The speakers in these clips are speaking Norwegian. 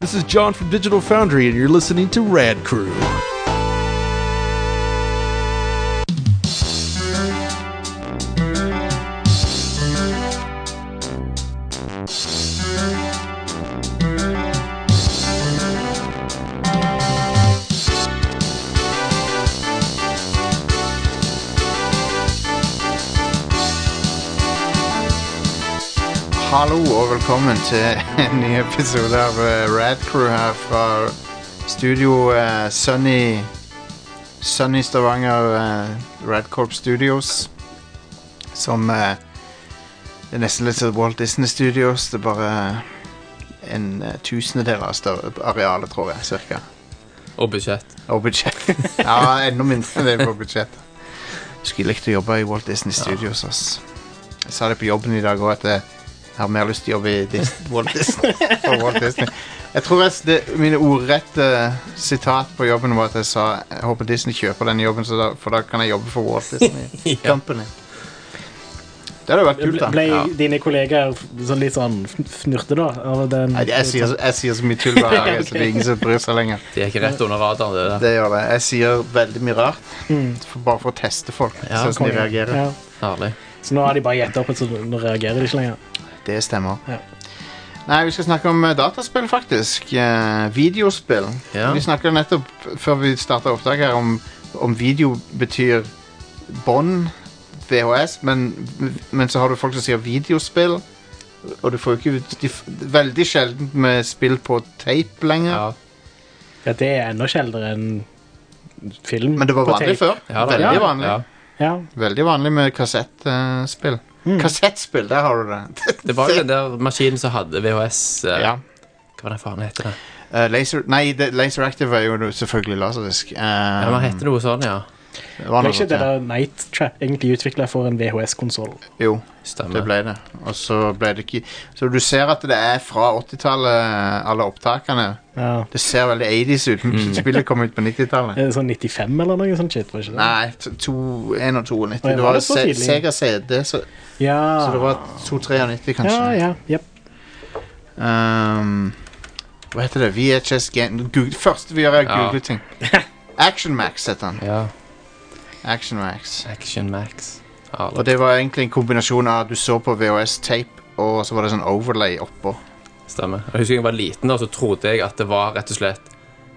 This is John from Digital Foundry, and you're listening to Rad Crew. Hallo og velkommen til en ny episode av eh, Rad Crew her fra studio eh, Sunny Sunny Stavanger eh, Radcorp Studios. Som eh, Det er nesten litt som Walt Disney Studios. Det er bare en eh, tusendedel av større arealet, tror jeg. Cirka. Og budsjett. Og budsjett. ja, enda mindre enn det på budsjett. Skulle likt å jobbe i Walt Disney Studios, ass. Jeg sa det på jobben i dag òg, at jeg jeg har mer lyst til å jobbe i Dis Walt Disney. For Walt Disney. Jeg tror jeg, s- det, mine ordrette eh, sitat på jobben var at jeg sa jeg håper Disney kjøper denne jobben, så da, for da kan jeg jobbe for Walt Disney Company. Det hadde vært kult, da. Ble Ja. dine kolleger sånn litt sånn fn- fnurte, da? Av den, Nei, Jeg sier, så- jeg sier så mye tull hver dag, så det er ingen som bryr seg lenger. De er ikke rett under radaren, det der. Det gjør det. Jeg sier veldig mye rart, Mm. for, bare for å teste folk. Ja, sånn som de reagerer. Ja. Herlig. Så nå har de bare gjett opp, så nå reagerer de ikke lenger. Det stemmer. Ja. Nei, vi skal snakke om eh, dataspill, faktisk. Eh, videospill. Ja. Vi snakka nettopp før vi starta opptak her om, om video betyr bånd, VHS, men, men så har du folk som sier videospill. Og du får jo ikke ut de, f- Veldig sjelden med spill på tape lenger. Ja. Ja, det er enda sjeldnere enn film. Men det var på vanlig tape. før. Ja, da. veldig Ja. vanlig Ja. Ja. Veldig vanlig med kassettspill. Hmm. Kassettspill, der har du det. Det var jo den der maskinen som hadde VHS eh, ja. Hva var det faen heter det? Eh, laser, nei, det, Laser Active er jo selvfølgelig laserdisk. Eh, Ja, det heter noe sånn, ja. det var Ble noe ikke sånt, det ja. der Night Trap egentlig utvikla for en VHS-konsoll? Jo, det Stemmer. ble det. Og så ble det ikke Så du ser at det er fra 80-tallet, alle opptakene. Ja. Det ser veldig 80s ut, men Hmm. spillet kom ut på 90-tallet. Er det Sånn 95 eller noe sånt shit? var ikke det? Nei, to- to- 1 og 92. Oi, Det var var det så Se- tidlig? Sega CD, så, Ja. så det var 293, ja, kanskje. ja, jep. Ehm, hva heter det? VHS Game Google, Første vi gjør, er å Ja. google ting. Action Max heter han. Ja. Action Max. Action Max. Og Herlig. det var egentlig en kombinasjon av at du så på VHS-tape, og så var det sånn overlay oppå. Stemmer. Jeg husker jeg var liten, da, så trodde jeg at det var rett og slett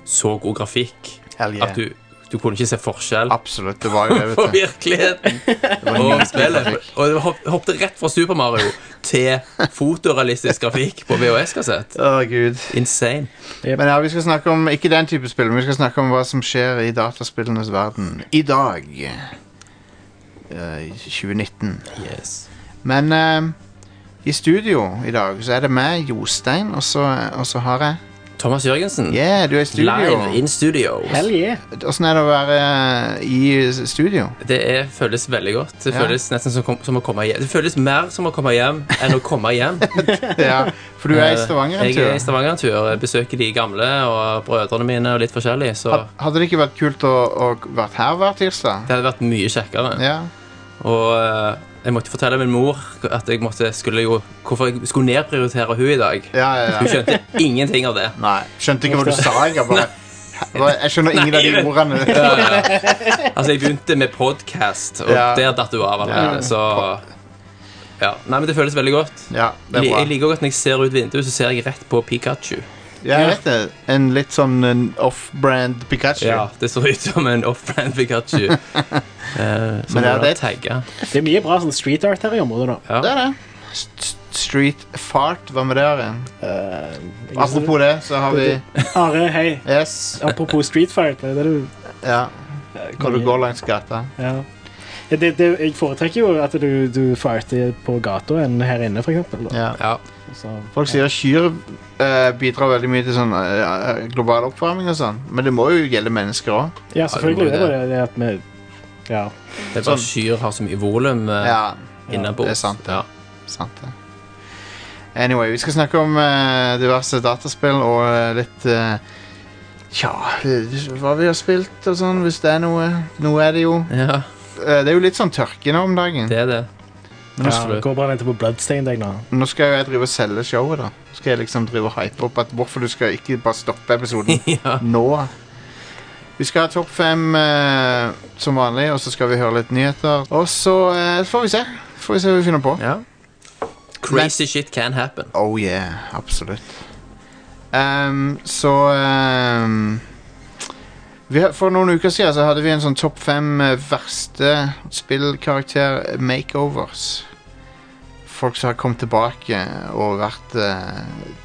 så god grafikk Hell at du, du kunne ikke se forskjell Absolutt, det var jo det, på vet du. virkeligheten Det var og ingen spillet. grafikk. Og det hopp- hoppet rett fra Super Mario til fotorealistisk grafikk på VHS-kassett. Å, gud. Insane. Men ja, vi skal snakke om ikke den type spill, men vi skal snakke om hva som skjer i dataspillenes verden i dag. Eh, 2019. Yes. Men eh, i studio i dag så er det meg, Jostein, og så, og så har jeg Thomas Jørgensen, Yeah, du er i studio. live in studio. Hell yeah. Åssen er det å være eh, i studio? Det er, føles veldig godt. Det Ja. føles nesten som, kom- som å komme hjem. Det føles mer som å komme hjem enn å komme hjem. Eh, Ja, for du er i Stavanger en Jeg er i tur. Stavanger en tur. Jeg besøker de gamle og brødrene mine og litt forskjellig. Så Had- Hadde det ikke vært kult å, å vært her hver tirsdag? det hadde vært mye kjekkere. Ja. Og eh, jeg måtte fortelle min mor at jeg måtte, skulle jo, hvorfor jeg skulle nedprioritere hun i dag. Ja, ja, Hun ja. skjønte ingenting av det. Nei, skjønte ikke hva du sa. Jeg, bare, Hva- jeg skjønner ingen av de ordene. Altså, jeg begynte med podcast, og Ja. der datt hun av Ja. allerede. Så ja. Nei, men det føles veldig godt. Ja, det er Jeg- bra. Jeg liker godt når jeg ser ut vinduet, så ser jeg rett på Pikachu. Ja, jeg vet det. En litt sånn en off-brand Pikachu. Ja, det ser ut som en off-brand Pikachu. eh, Men det som er er det. tagga. Det er mye bra sånn street art her i området, da. Det er det. St- Street Fart, hva med det? Are? Eh, jeg- Apropos det, så har vi Are, hei. Yes. Apropos street fight. Det er det du Ja, når du går langs gata. Ja. Ja, Det, det, jeg foretrekker jo at du, du farter på gata enn her inne, for eksempel. Da. Ja. Ja. Så, Folk sier at kyr eh, bidrar veldig mye til sånn eh, global oppvarming og sånn, men det må jo gjelde mennesker òg. ja, selvfølgelig. Ja, det Det er må bare det at vi Ja. Det er bare Sånn. kyr har så mye volum eh, Ja, innabords. det er sant, det. Ja. sant det. Anyway, vi skal snakke om eh, diverse dataspill og eh, litt eh, Tja, hva vi har spilt og sånn, hvis det er noe. Noe er det jo. ja, Eh, Det er jo litt sånn tørke nå om dagen. det er det. Men Ja, absolutt. går bra venter på Bloodstain deg nå. Nå skal jo jeg drive og selge showet, da. Skal jeg liksom drive og hype opp at hvorfor du skal ikke bare stoppe episoden ja. nå. Vi skal ha topp fem eh, som vanlig, og så skal vi høre litt nyheter. Og så eh, får vi se. Får vi se hva vi finner på. ja. Crazy shit can happen. Oh yeah, absolutt. Ehm, så ehm, vi, har- For noen uker siden så hadde vi en sånn topp fem eh, verste spillkarakter makeovers. Folk som har kommet tilbake og vært eh,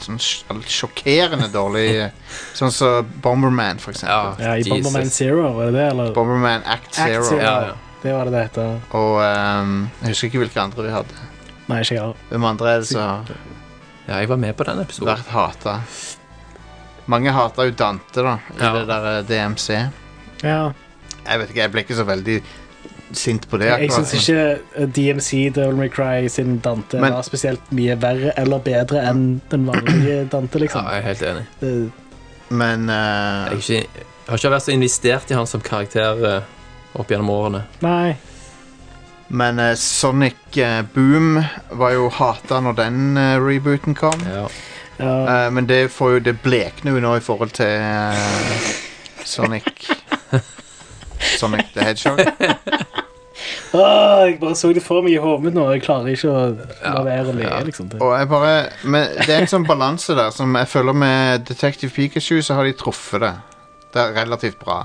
sånn sj- sjokkerende dårlig. eh, sånn som Bomberman, for eksempel. Ja, I Jesus. Bomberman Zero, var det det? Eller? Bomberman Act Zero. Zero. Ja, ja. Det var det det het. Og ehm, jeg husker ikke hvilke andre vi hadde. Nei, ikke jeg heller. Hvem andre er det som har ja, jeg var med på den episoden. vært hata? Mange hater jo Dante, da, i Ja. det der eh, DMC. Ja. Jeg vet ikke, jeg ble ikke så veldig sint på det. Jeg syns ikke eh, DMC, Devil May Cry sin Dante Men- var spesielt mye verre eller bedre enn den vanlige Dante, Ja, liksom. jeg er helt enig. Det- Men Jeg, eh, er ikke, jeg har ikke vært så investert i han som karakter eh, opp gjennom årene. Mm. Nei. men eh, Sonic eh, Boom var jo hata når den eh, rebooten kom. Ja. Ja. Eh, men det får jo det blekner jo nå i forhold til eh, Sonic Sonic the Hedgehog. Åh, jeg bare så det for meg i hodet mitt nå. Jeg klarer ikke å la Ja, være å le. ja. Liksom. Det. Og jeg bare Men det er en sånn balanse der som jeg føler med Detective Pikachu, så har de truffet det. Det er relativt bra.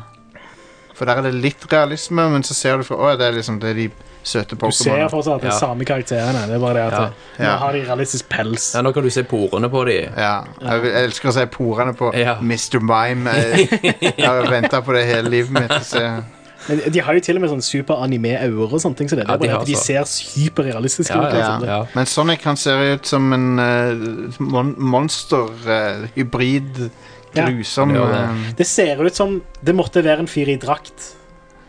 For der er det litt realisme, men så ser du fra Å, det er liksom det er de søte Du ser Pokémonene. fortsatt at det er Ja. samme karakterene. Det er bare det at eh, Ja. nå Ja. har de realistisk pels. ja, nå kan du se porene på de. Ja, jeg, vil- jeg elsker å se porene på Ja. Mr. Mime. Jeg, jeg har venta på det hele livet mitt. å Se. Men de har jo til og med sånn super-anime-ører og sånne ting. Så det. Ja, det de er bare har at de så. ser hyperrealistiske Ja, ut. Ja. Liksom. ja. Men Sonic han ser ut som en eh, mon monster. eh, hybrid. Ja. Grusom. Han gjør eh, Det ser ut som det måtte være en fyr i drakt.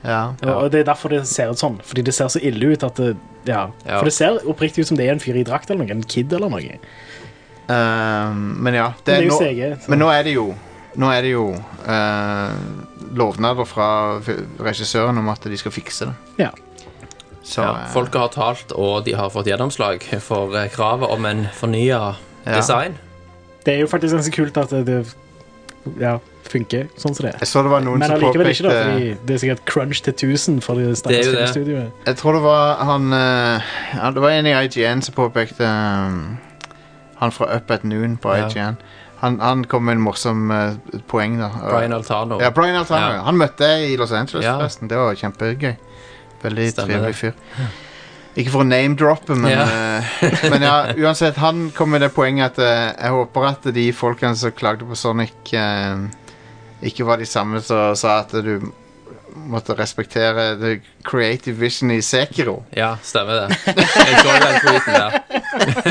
Ja. Ja. Og det er derfor det ser ut sånn. Fordi det ser så ille ut at det, ja. Ja. For det ser oppriktig ut som det er en fyr i drakt eller noe. En kid eller noe. Eh, men ja. Det er nå, jo CG. så- men nå er det jo Nå er det jo eh, lovnader fra f- regissøren om at de skal fikse det. Ja. Så Ja, eh, Folket har talt, og de har fått gjennomslag for eh, kravet om en fornya Ja. design. Det er jo faktisk ganske kult at det, det ja, funker sånn som det er. Jeg så det var noen Men som allikevel påpekte ikke, da, fordi det er sikkert crunch til 1000 for det Det er jo stakkars det. filmstudioet. Jeg tror det var han eh, ja, Det var en i IGN som påpekte um, Han fra Up at Noon på Ja. IGN. Han, han kom med en morsom eh, poeng, da. Brian Altano. ja, Brian Altano. Ja. Han møtte jeg i Los Angeles, Ja. forresten. Det var kjempegøy. Veldig Stemmer trivelig det. fyr. Ikke for å name-droppe, men, eh, men ja, uansett, han kom med det poenget at eh, jeg håper at de folkene som klagde på Sonic, eh, ikke var de samme som sa at du måtte respektere the creative vision i Sekiro. Ja, stemmer det. Jeg så den tweeten der.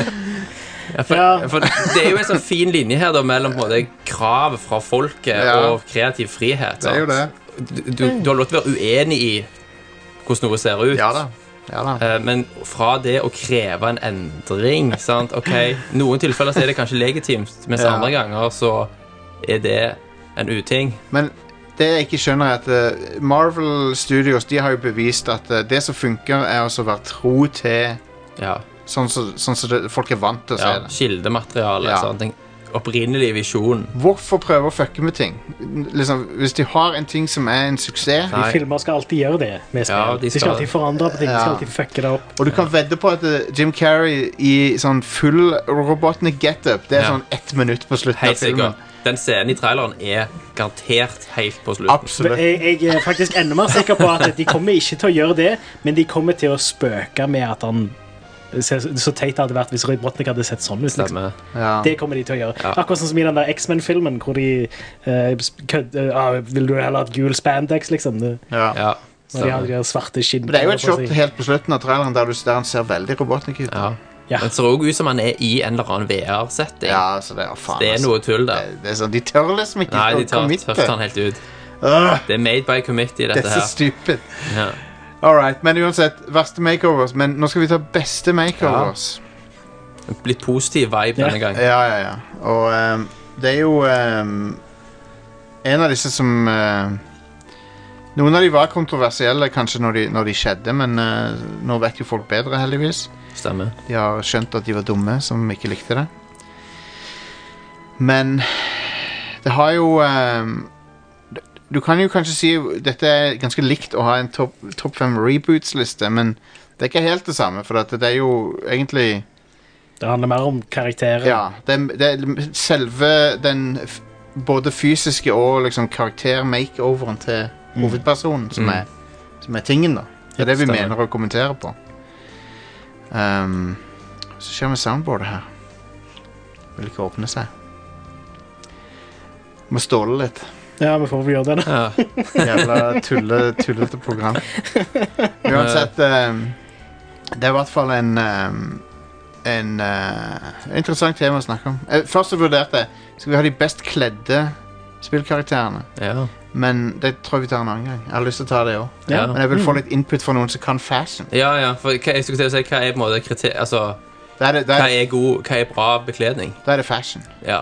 Ja, for, Ja. for det er jo en sånn fin linje her da, mellom på en måte, krav fra folket Ja. og kreativ frihet. Det er jo det. Du, du, du har lov til å være uenig i hvordan noe ser ut, Ja da. Ja, da. Eh, men fra det å kreve en endring sant? Ok, Noen tilfeller så er det kanskje legitimt, mens Ja. andre ganger så er det en uting. Men det jeg ikke skjønner, er at eh, Marvel Studios de har jo bevist at eh, det som funker, er også å være tro til Ja. sånn som sånn som det- folk er vant til å ja, se det. Kildemateriale. Ja. sant? Den opprinnelige visjonen. Hvorfor prøve å fucke med ting? Liksom, Hvis de har en ting som er en suksess, De Nei. filmer skal alltid gjøre det. Med spill. Ja, de de, skal... skal- alltid forandre på ting. De skal Ja. alltid fucke det opp. og du kan vedde på at eh, Jim Carrey i sånn full Robotnik-get-up Det er Ja. sånn ett minutt på slutten Helt av filmen. sikkert. Den scenen i traileren er garantert helt på slutten. Men Absolutt. Jeg, jeg er faktisk enda mer sikker på at de kommer ikke til å gjøre det, men de kommer til å spøke med at han ser så så teit det hadde vært hvis Roy Brotnik hadde sett sånn ut. Liksom. Stemmer. Ja. Det kommer de til å gjøre. Ja. Akkurat sånn som i den der X-Men-filmen hvor de eh, sp- kødd, eh, ah, Vil du heller ha et gul spandex, liksom? Det- Ja. Ja. Når de har de Stemmer. der svarte skinn. Men det er jo et shot helt på slutten av traileren der, du, der han ser veldig Robotnik ut. Ja. Ja. Den ser òg ut som han er i en eller annen VR-setting. Ja, så det er faen. Det er altså. noe tull der. Det- Det er sånn, De tør liksom ikke Nei, de å tar committe. tøfter han helt ut. Åh, Det er made by committee, det dette er så her. stupid. Ja. Alright, men uansett, verste makeovers. Men nå skal vi ta beste makeovers. Litt positiv vibe Ja. denne gang. Ja, ja, ja. Og ehm, det er jo ehm, En av disse som ehm, eh, Noen av de var kontroversielle kanskje når de, når de skjedde, men eh, nå vet jo folk bedre, heldigvis. Stemmer. De har skjønt at de var dumme, som ikke likte det. Men det har jo ehm, Du kan jo kanskje si dette er ganske likt å ha en topp top fem reboots-liste, men det er ikke helt det samme, for at det er jo egentlig Det handler mer om karakterer. Ja. Det, er- det, er selve den f- både fysiske og liksom karakter-makeoveren til hovedpersonen som, Mm. er, som er tingen, da. Det er det vi Stemmer. mener å kommentere på. Ehm, så skjer med soundboardet her. Vil ikke åpne seg. Må ståle litt. Ja, vi får vel gjøre det. da. Ja. Jævla tulle, tullete program. Uansett ehm, Det er i hvert fall en ehm, En eh, interessant tema å snakke om. Eh, Først så vurderte jeg Skal vi ha de best kledde spillkarakterene. ja. Men det tror jeg vi tar en annen gang. Jeg har lyst til å ta det òg. Ja. Men jeg vil få litt input fra noen som kan fashion. Ja, ja, for hva, jeg skulle til å si hva er på en måte kriter... Altså, Da er det, da hva er, er god, hva er bra bekledning? da er det fashion. Ja.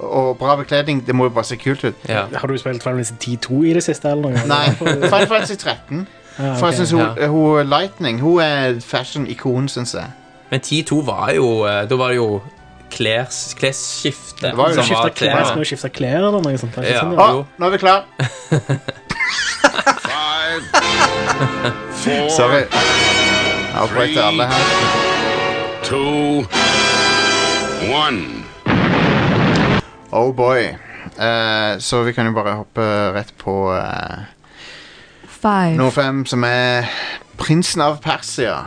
Og bra bekledning, det må jo bare se kult ut. ja. Har du spilt Final Fantasy 10-2 i det siste? eller noe? Nei, Final Fantasy 13. Ja, ok. For jeg synes hun, Ah, Ja. hun Lightning hun er fashion-ikon, syns jeg. Men 10-2 var jo eh, Da var det jo klærs, klesskifte. Det var jo som Skifte klær, skal tema. vi skifte klær eller noe sånt? Er det Ja. ikke sånn, Å, ja. Jo. nå er vi klar Five, four, Sorry. Jeg avbrøt alle her. two, one. Oh boy. Eh, så vi kan jo bare hoppe rett på eh, Five. nummer fem, som er prinsen av Persia.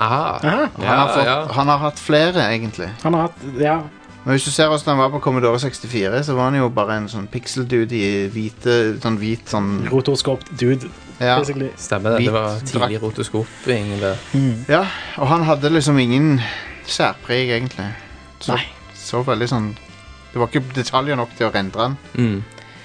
Aha. Aha, Han, har, fått, ja. han har hatt flere, egentlig. han har hatt, ja, Men hvis du ser hvordan han var på Commodore 64, så var han jo bare en sånn pixel-dude i hvite Sånn hvit sånn Mm. rotorskopt dude, ja. basically. Stemmer det. Det var Hvit tidlig rotoskoping. Det. ja. Og han hadde liksom ingen særpreg, egentlig. Så, Nei. så veldig sånn Det var ikke detaljer nok til å rendre han Mm.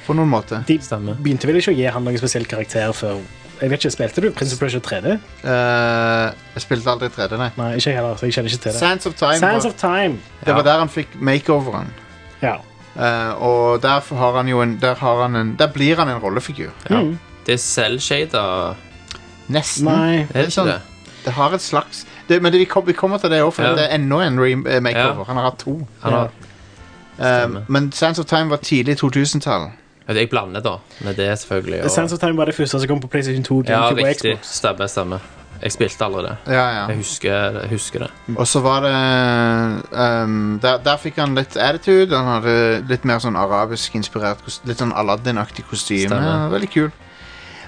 på noen måte. De Stemmer. begynte vel ikke å gi han noen spesiell karakter før Jeg vet ikke, Spilte du Prince of Persia 3D? Eh, jeg spilte aldri 3D, nei. Nei, ikke jeg heller. så jeg kjenner ikke til det. Sands of Time. Sands var- of Time. Det var Ja. der han fikk makeoveren. Ja. Eh, og der f- har han jo en Der, har han en, der blir han en rollefigur. Ja. Mm. Det er selvshader, Nesten. Nei. er det ikke Sånn. det? Det har et slags det, Men det, vi, kom, vi kommer til det òg, for Ja. det er enda en re- eh, makeover. Ja. Han har hatt to. Han har, Eh, Stemmer. men Sands of Time var tidlig 2000-tall. ja, jeg blander da med det, selvfølgelig. Og, Sands of Time var det første som kom på PlayStation 2, ja, GameCube og riktig. Xbox. Stemmer, stemmer. Jeg spilte aldri det. Ja, Jeg ja. husker, jeg husker det. Og så var det ehm, der, der fikk han litt attitude. Han hadde litt mer sånn arabisk inspirert kos- Litt sånn Aladdin-aktig kostyme. Stemmer. Veldig kul.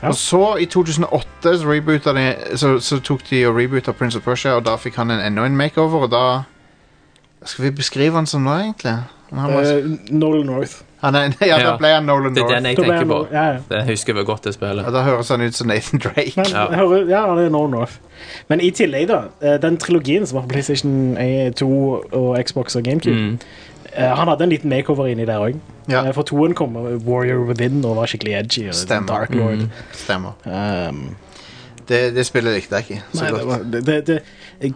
Ja. Og så, i 2008, så, reboota de, så, så tok de og reboota Prince of Persia, og da fikk han en enda en makeover, og da Skal vi beskrive han som da, egentlig? Han, var, Eh, Nolan North. han er, ja, da ja. ble han Nolan Det er den North. jeg Da ble tenker på. han- Ja, ja. Det husker jeg godt, det spillet. Og da høres han ut som Nathan Men, Drake. Ja. jeg hører, ja, det er Nolan North. Men i tillegg, da. eh, Den trilogien som var på PlayStation 2 og Xbox og GameCube, Mm. eh, han hadde en liten makeover inni der òg. Ja. For toen kom eh, Warrior Within og var skikkelig edgy. Og Stemmer. Mm. Dark Lord. Mm. Stemmer. Um, Det, det spillet likte jeg ikke så Nei, det godt. var- det- det- det-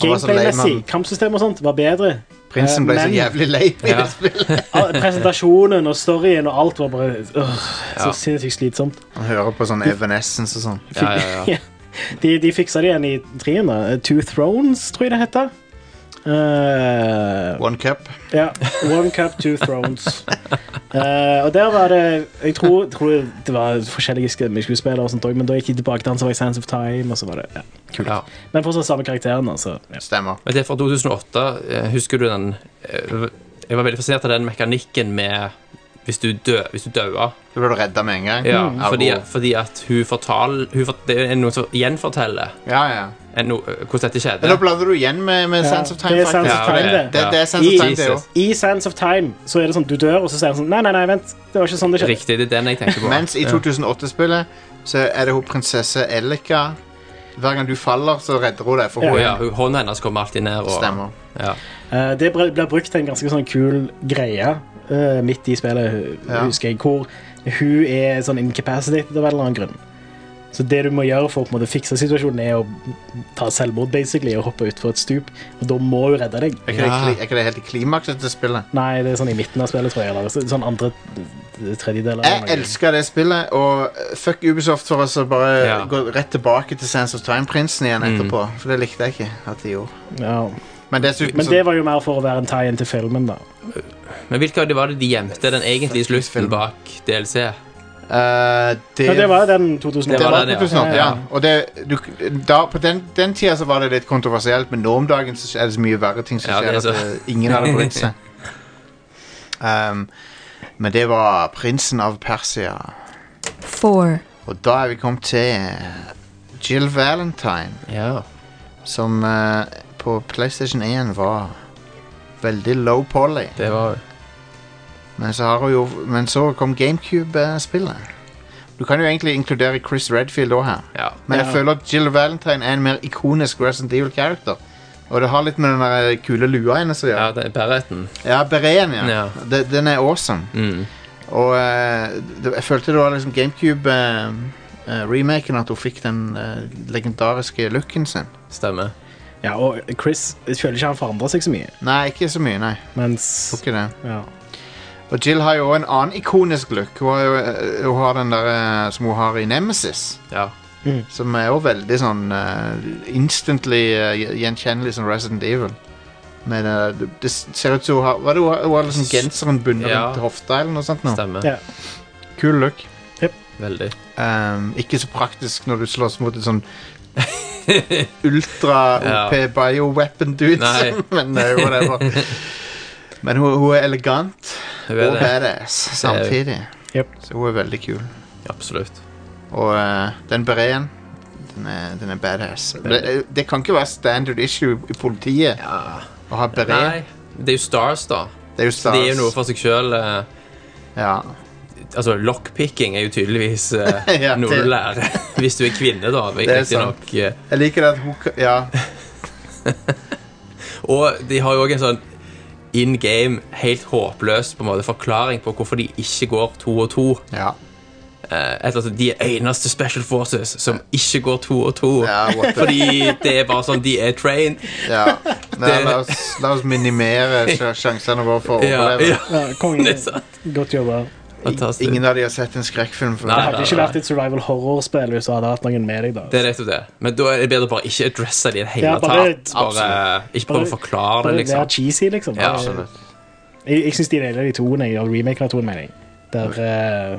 var så lei, Gameplay-messig, mann. kampsystem og sånt, var bedre. Prinsen ble Eh, så men- jævlig lei i Ja. det spillet. Ah, Presentasjonen og storyen og alt var bare øh, så Ja. sinnssykt slitsomt. Han hører på sånn Evanescence og sånn. Ja, ja, ja. De, de fiksa det igjen i trien. da. Eh, Two Thrones, tror jeg det heter. Eh, One Cup. ja. One Cup, Two Thrones. Eh, og der var det Jeg tror, tror det var forskjellige skuespillere, og sånt, også, men da gikk de tilbake til han som var i Sands of Time. Og så var det, ja. ja. Men fortsatt samme karakteren. Altså. Ja. Stemmer. Men det er fra 2008. eh, Husker du den eh, Jeg var veldig fascinert av den mekanikken med hvis du dø, hvis du døde. Du ble redda med en gang. Mhm. Ja, Mm. fordi, Ergo- fordi at hun fortal, hun fort, Det er noen som gjenforteller ja, ja. en, no, eh, hvordan dette Men da skjedde. blander du igjen med, med Ja, Sands of Time, det er Sands faktisk. of Ja, Time, det- det. Det, det er Sands of I- Time, det Jesus. òg. I Sands of Time så er det sånn du dør, og så sier han sånn Nei, nei, nei, vent. Det var ikke sånn det skjedde. Riktig, det er den jeg tenker på. Mens i 2008-spillet så er det hun prinsesse Elika. Hver gang du faller, så redder hun deg, for ja. hun Ja, hun- Hånda hennes kommer alltid ned. Og, stemmer. Ja. Eh, det ble- ble brukt til en ganske sånn kul greie eh, midt i spillet, hu- Ja. husker jeg, hvor hun er sånn incapacitated av en eller annen grunn. Så det du må gjøre for å på en måte fikse situasjonen, er å ta selvmord basically, og hoppe utfor et stup. Og da må hun redde deg. Er ikke, det, Ja. kli- er ikke det helt i klimakset til spillet? Nei, det er sånn i midten av spillet, tror jeg. Eller så- sånn andre tredjedel Jeg av elsker det spillet, og eh, fuck Ubisoft for oss å bare Ja. gå rett tilbake til Sands of Time-prinsen igjen etterpå. For det likte jeg ikke at de gjorde. Ja. Men dessuten Men det var jo mer for å være en tie-in til filmen, da. Men hvilke av de var det de gjemte den egentlige slutten bak DLC? så eh, det, Ja, det var jo den 2008. det Det var den, ja. 2008, ja. Ja, ja. Og det, du, da, på den, den tida så var det litt kontroversielt, men nå om dagen så er det så mye verre ting som Ja, det skjer. er at eh, ingen hadde brydd seg. Um, men det var prinsen av Persia. four, Og da er vi kommet til Jill Valentine. Ja. Som eh, på PlayStation 1 var veldig low poly. Det var Men så, har hun jo, men så kom GameCube-spillet. Du kan jo egentlig inkludere Chris Redfield òg her. Ja. Men jeg Ja. føler at Jill Valentine er en mer ikonisk Resident Evil-character. Og det har litt med den der eh, kule lua hennes å gjøre. ja, det er Bereten. Ja, bereten, ja. Ja. Den, den er awesome. Mm. Og eh, det, jeg følte det var liksom GameCube-remaken at hun fikk den eh, legendariske looken sin. Stemmer. Ja, og Chris jeg føler ikke han forandrer seg så mye. Nei, ikke så mye, nei. Mens Tror ikke det. ja. Og Jill har jo en annen ikonisk look. Hun har, jo, eh, hun har den der eh, som hun har i Nemesis. Ja. Som er jo veldig sånn eh, instantly eh, gj- gjenkjennelig som Resident Evil. Men eh, det, det ser ut som hun har Hva er det hun har? Hun har liksom genseren bundet Ja. rundt hofta eller noe sånt. nå. Stemmer. Ja. Kul look. Veldig. Ehm, ikke så praktisk når du slåss mot en sånn ultra-OP Ja. bioweapon-dude. Nei. Men eh, whatever. Men hun, hun er elegant Hun og er det. badass samtidig. Jep. Så hun er veldig kul. Absolutt. Og eh, den bereten, den er, den er badass. Det, det kan ikke være standard issue i politiet Ja. å ha beret. Nei, det er jo Stars, da. Det er jo Så stas. det er jo noe for seg sjøl. ja. Altså, lockpicking er jo tydeligvis eh, Ja, det- noe du lærer hvis du er kvinne, da. er Riktignok. eh, Jeg liker det at hun ka- Ja, Og de har jo òg en sånn in game, helt håpløs på en måte, forklaring på hvorfor de ikke går to og to. ja, Eh, etter at de er eneste Special Forces som ikke går to og to. ja, what the, Fordi det er bare sånn de er trained. ja. Nei, la, oss, la oss minimere sj- sjansene våre for å Ja, overleve. ja, ja det konge. er sant. Godt jobba. Fantastisk. Ingen av de har sett en skrekkfilm før. Det Nei. hadde ikke vært et survival horror-spill hvis du hadde hatt noen med deg, da. Det er nettopp det. Men da er det bedre å bare ikke addresse det i det hele Ja, bare- tatt. Bare, ikke prøve å forklare det, Bare være liksom. cheesy, liksom. Ja, Bare- absolutt. jeg jeg syns de deler de toen jeg, av remaken av toen, mener jeg. Der eh,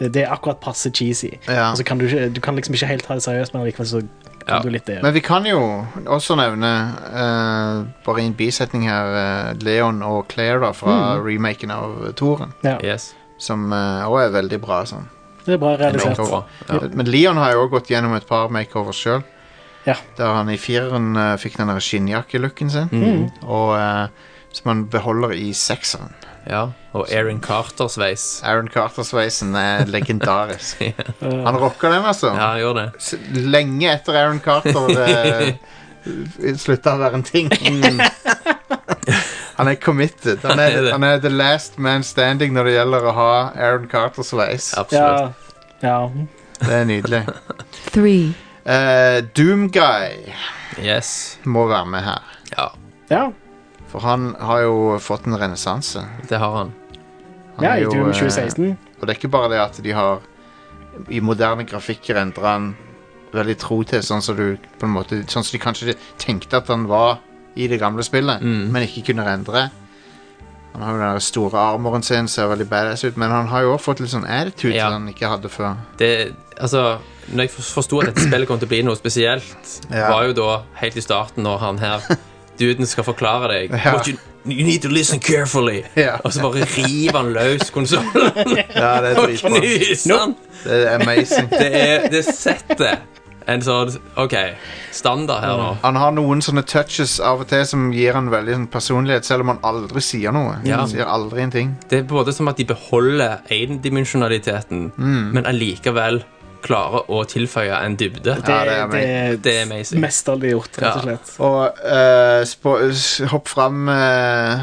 det er akkurat passe cheesy. Ja. Altså, Og så kan du, ikke, du kan liksom ikke helt ta det seriøst, men likevel så Ja. kan du litt det. Men vi kan jo også nevne, eh, bare i en bisetning her, eh, Leon og Claire da, fra Mm. remaken av Toren. ja. Yes. Som òg er veldig bra. sånn Det er bra realisert. Makeover. Bra. Ja. Men Leon har jo òg gått gjennom et par makeovers sjøl. Ja. Der han i fireren eh, fikk den der skinnjakke-looken sin, Mm. Mm. og, eh, som han beholder i sekseren. ja. Og Erin Carter-sveis. Aaron Carter-sveisen er legendarisk. Eh, Han rocker den, altså. Ja, han gjør det. S- Lenge etter Aaron Carter eh, slutta å være en ting. Han er committed. Han Han er er, det. han er the last man standing når det gjelder å ha Aaron Carter-sveis. Absolutt. ja. ja. Det er nydelig. three, Eh, Doomguy Yes. må være med her. Ja, ja. For han har jo fått en renessanse. det har han. Han ja er I jo, Doom eh, 2016. Og det er ikke bare det at de har i moderne grafikker endra han veldig tro til, sånn som du på en måte Sånn som de kanskje tenkte at han var i det gamle spillet, Mm. men ikke kunne endre. Han har jo den der store armoren sin, ser veldig badass ut, men han har jo også fått litt sånn attitude Ja. som han ikke hadde før. det, altså, når jeg forsto at dette spillet kom til å bli noe spesielt, Ja. var jo da helt i starten når han her Duden skal forklare deg Ja. What you, you need to listen carefully. Ja. Og så bare river han løs konsollen Ja, det er og dritbra. knuser den. Det er amazing. Det, er- det setter en sånn OK, standard her nå. Han har noen sånne touches av og til som gir han veldig sånn personlighet, selv om han aldri sier noe. Ja. Han sier aldri en ting. Det er både som at de beholder endimensjonaliteten, men allikevel klarer å tilføye en dybde. Det, Ja, det er det, Det er er amazing. mesterlig gjort, rett Ja. og slett. Og eh, spå- s- hopp fram eh,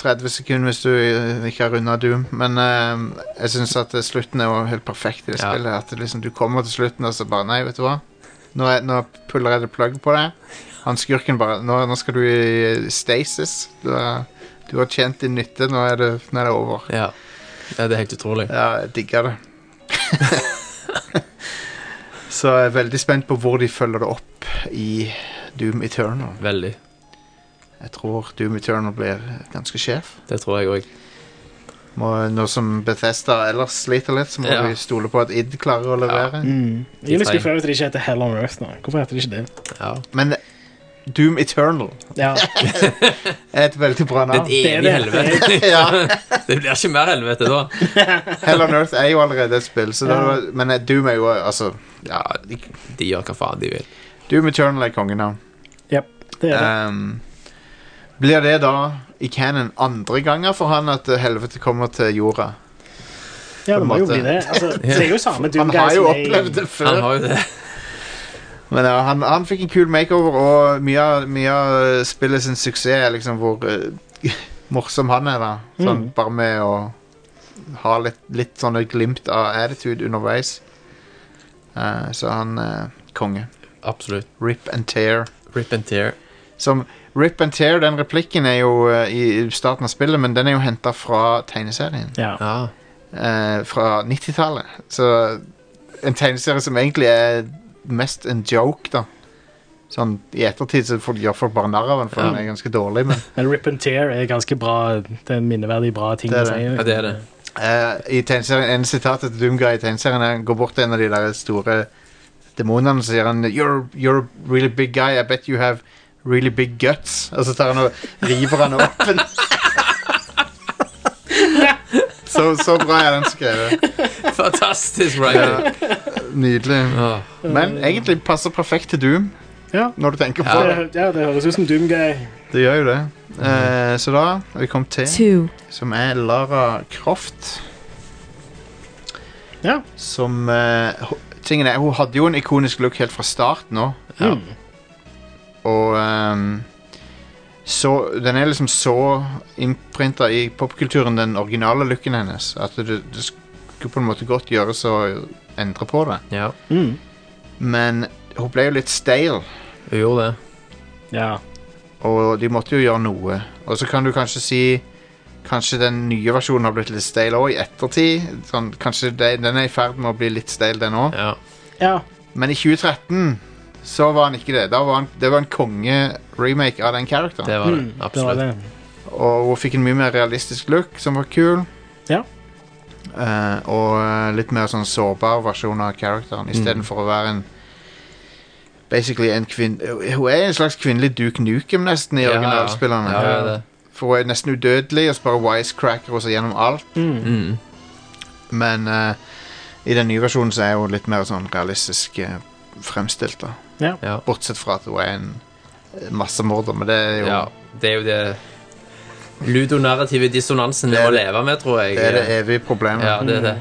30 sekunder hvis du eh, ikke har runda Doom. Men eh, jeg syns at eh, slutten er jo helt perfekt i det Ja. spillet. At det liksom, du kommer til slutten og så bare Nei, vet du hva? Nå, er, nå puller jeg det plugg på deg. Han skurken bare Nå, nå skal du eh, i stasis. Du, er, du har tjent din nytte. Nå er det, nå er det over. Ja. Ja, det er helt utrolig. Ja, jeg digger det. Så jeg er veldig spent på hvor de følger det opp i Doom Eternal. Veldig. Jeg tror Doom Eternal blir ganske sjef. Det tror jeg òg. Må, nå som Bethesda ellers sliter litt, så må Ja. vi stole på at ID klarer å levere. Mm. Jeg er litt Tegn. skuffa over at det ikke heter Hell on Earth nå. Hvorfor heter det ikke det? Ja. Men Doom Eternal Ja, er et veldig bra Det er navn. et det er evig det. helvete. Ja, Det blir ikke mer helvete da. Hell on Earth er jo allerede et spill, så Ja. det, var- men eh, Doom er jo altså Ja, de, de gjør hva faen de vil. Doom Eternal er kongenavn. det er det. Ehm, blir det da i canon andre ganger for han at eh, helvete kommer til jorda? Ja, det må jo måte. bli det. Altså, det er jo samme Doom Han har Guys jo som er i- opplevd det før. Han har jo det. Men ja, han, han fikk en kul makeover, og mye av- mye av spillet sin suksess er liksom hvor eh, morsom han er, da. Sånn, Mm. Bare med å ha litt, litt sånne glimt av attitude underveis. Eh, så han uh, konge. Absolutt. Rip and tear. Rip and tear. Som Rip and tear, den replikken er jo eh, i starten av spillet, men den er jo henta fra tegneserien. Ja. Ja. eh, fra 90-tallet. Så en tegneserie som egentlig er mest en joke, da. Sånn, I ettertid så får, gjør folk bare narr av den, for Ja. den er ganske dårlig. Men Men Rip and Tear er ganske bra. Det er en minneverdig bra ting Det er å det. si. ja, det er det. eh, i tegneserien, en sitat til Doomguy i tegneserien er han går bort til en av de der store demonene og sier han you're, you're a really big guy, I bet you have really big guts. Og så tar han og river han åpen. så, så bra er den skrevet. Fantastisk writing. Ja, nydelig. Åh, Men egentlig passer perfekt til Doom. Ja. Når du tenker på Ja. det. Det, ja, det høres ut som Doom Guy. Det gjør jo det. Eh, så da er vi kommet til, two, som er Lara Croft. Ja. Som eh, ho- Tingen er, Hun hadde jo en ikonisk look helt fra start nå, Ja. Mm. og ehm, så, Den er liksom så innprinta i popkulturen, den originale looken hennes, at det, det skulle på en måte godt gjøres å endre på det. ja. Mm. Men hun ble jo litt stale. Hun gjorde det. Ja. Og de måtte jo gjøre noe. Og så kan du kanskje si Kanskje den nye versjonen har blitt litt stale òg, i ettertid. Sånn, kanskje de, den er i ferd med å bli litt stale, den òg. Ja. ja. Men i 2013 så var han ikke det. Da var han, det var en konge-remake av den characteren. Det var det. Mm, var Absolutt. det. Og hun fikk en mye mer realistisk look, som var kul. Ja. Eh, og eh, litt mer sånn sårbar versjon av characteren, Mm. istedenfor å være en Basically en kvinn... Hun er en slags kvinnelig Duke Nukem, nesten, i Ja, ja. originalspillerne. Ja, ja, det. For hun er nesten udødelig og så bare wisecracker og så gjennom alt. Mm. Mm. Men eh, i den nye versjonen så er hun litt mer sånn realistisk eh, fremstilt. da Ja. Ja. Bortsett fra at hun er en eh, massemorder, men det er jo ja. Det er jo det ludonarrative dissonansen vi Det er må det. leve med, tror jeg. det, er det evige problemet. Ja, det er det.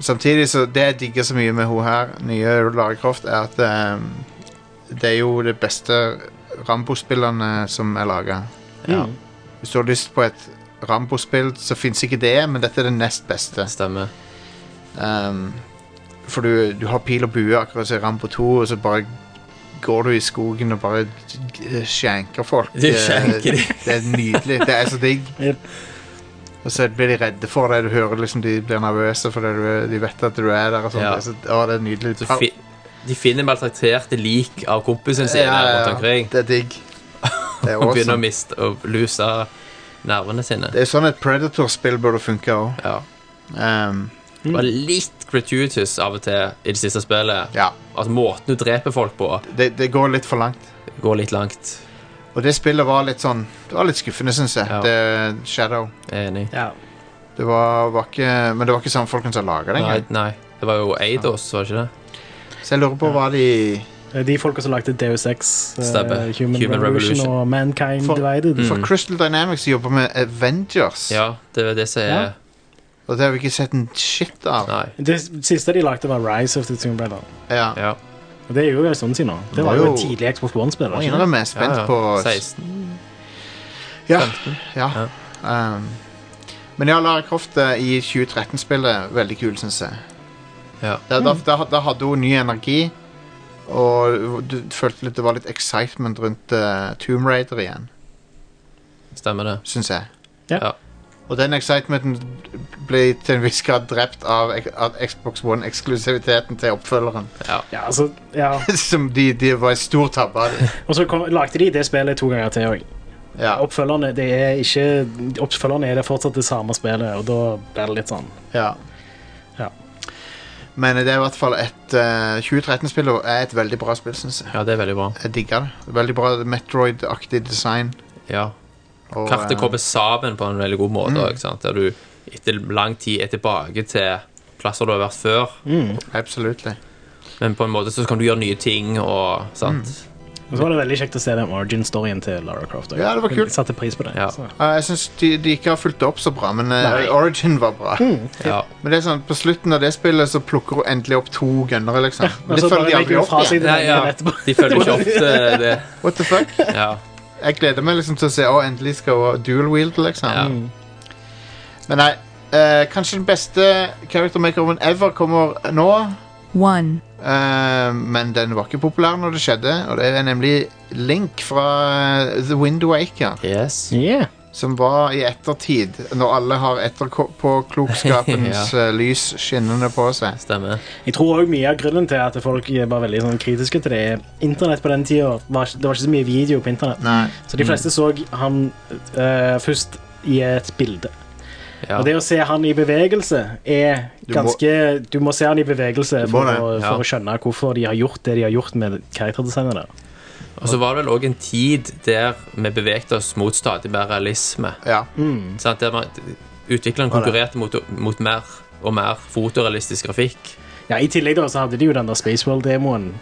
Samtidig så Det jeg digger så mye med hun her, nye Lara Croft, er at eh, det er jo det beste Rambo-spillerne som er laga. Ja. Mm. Hvis du har lyst på et Rambo-spill, så fins ikke det, men dette er det nest beste. Stemmer. Um, for du, du har pil og bue akkurat som i Rambo 2, og så bare går du i skogen og bare g- skjenker folk. Du skjenker det, det er nydelig. Det er så digg. Yep. Og så blir de redde for deg. Du hører liksom de blir nervøse fordi du, er- de vet at du er der. Og sånt. Ja. det, er så, å, det er nydelig. Så fi de finner maltrakterte lik av kompisen sin Ja, ja, ja. rundt omkring. Det er digg. Det er Og begynner awesome. å miste og luse nervene sine. Det er sånn et Predator-spill burde funke òg. Ja. Um, Det var litt gratuitous av og til i det siste spillet. ja. At måten du dreper folk på, Det, det går litt for langt. går litt langt. Og det spillet var litt sånn Det var litt skuffende, syns jeg. Ja. Det, Shadow. Jeg er enig. ja. Det var, var ikke, men det var ikke samme folkene som laga det. Nei, engang. nei. Det var jo Eidos, var det ikke det? Så jeg lurer på hva de De folka som lagde Deus Ex, eh, Stemmer. Human, Human Revolution, Revolution. og Mankind For- Mm. Divided. For Crystal Dynamics jobber med Avengers, Mm. Ja, det er det som er Ja. og det har vi ikke sett en shit av. Nei. Det siste de lagde, var Rise of the Tomb Raider. Ja. Ja. Og det er jo en stund siden nå. Det Det var var jo en jo- tidlig Xbox One-spiller. Må ikke det? innrømme, jeg er Ja, spent ja. på 16. Ja. ja. Um, men ja, Lara Croft eh, i 2013-spillet veldig kul, syns jeg. Ja. Da, da, da, da hadde hun ny energi, og du følte litt, det var litt excitement rundt eh, Tomb Raider igjen, Stemmer det. syns jeg. Ja. Og den excitementen ble til en viss grad drept av ek- at Xbox One-eksklusiviteten til oppfølgeren. Ja, altså, ja. Som de, de var en stor tabbe av. det. Og så kom, lagde de det spillet to ganger til òg. Ja. Oppfølgerne, det er ikke- oppfølgerne er det fortsatt det samme spillet, og da blir det litt sånn ja. Ja. Men det er i hvert fall et eh, 2013-spill er et veldig bra spill, syns jeg. Ja, det er veldig bra. Jeg digger det. Veldig bra Metroid-aktig design. Ja. og, Kartet eh, kommer sammen på en veldig god måte. Mm. Ikke sant? Der du etter lang tid er tilbake til plasser du har vært før, mm. Absolutely. men på en måte så kan du gjøre nye ting og sant. Mm. Og så var det veldig kjekt å se den origin-storyen til Lara Croft. også. Ja, det var Jeg kult. Satte pris på det. Ja. så. Ja, jeg syns de, de ikke har fulgt det opp så bra, men eh, Nei. Origin var bra. Mm. Ja. Men det er sånn, på slutten av det spillet så plukker hun endelig opp to gunnere, liksom. Men Og så det følger bare de legger aldri hun opp fra igjen. seg den Nei, ja. igjen etterpå. De følger ikke opp det. det. What the fuck? Ja. Jeg gleder meg liksom til å se Å, endelig skal hun dual wield, liksom. Ja. Mm. Men nei. eh, kanskje den beste character makeoven ever kommer nå. one, eh, men den var ikke populær når det skjedde, og det er nemlig Link fra eh, The Wind Waker. Yes. Yeah. Som var i ettertid, når alle har etterpåklokskapens ja. eh, lys skinnende på seg. Stemmer. Jeg tror også mye av grunnen til at folk var veldig sånn kritiske til det, er internett på den tida. var ikke- Det var ikke så mye video på internett. Nei. Så de fleste så han eh, først i et bilde. Ja. Og det å se han i bevegelse er Du må- ganske Du må se han i bevegelse Du må for, det, å, ja. for å skjønne hvorfor de har gjort det de har gjort med karakterdesignet der. Og så var det vel òg en tid der vi bevegte oss mot stadig mer realisme. Ja. Mm. Sant? Der man, utvikleren konkurrerte mot, mot mer og mer fotorealistisk grafikk. Ja, I tillegg da så hadde de jo den der Spaceworld-demoen.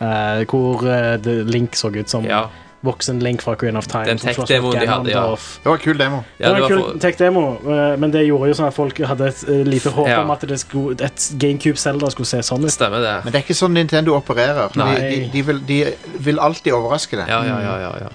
eh, hvor eh, The Link så ut som Ja. voksen Link fra Queen of Time. Den som slåss tech-demoen mot de hadde, ja. Ganondorf. Det var en kul demo. Ja, det var en kul for- tech-demo, eh, men det gjorde jo sånn at folk hadde et eh, lite håp Ja. om at det skulle, et GameCube Zelda skulle se sånn ut. Stemmer det. Men det er ikke sånn Nintendo opererer. De, Nei. de, de, vil, de vil alltid overraske deg. Ja, ja, ja, ja, ja.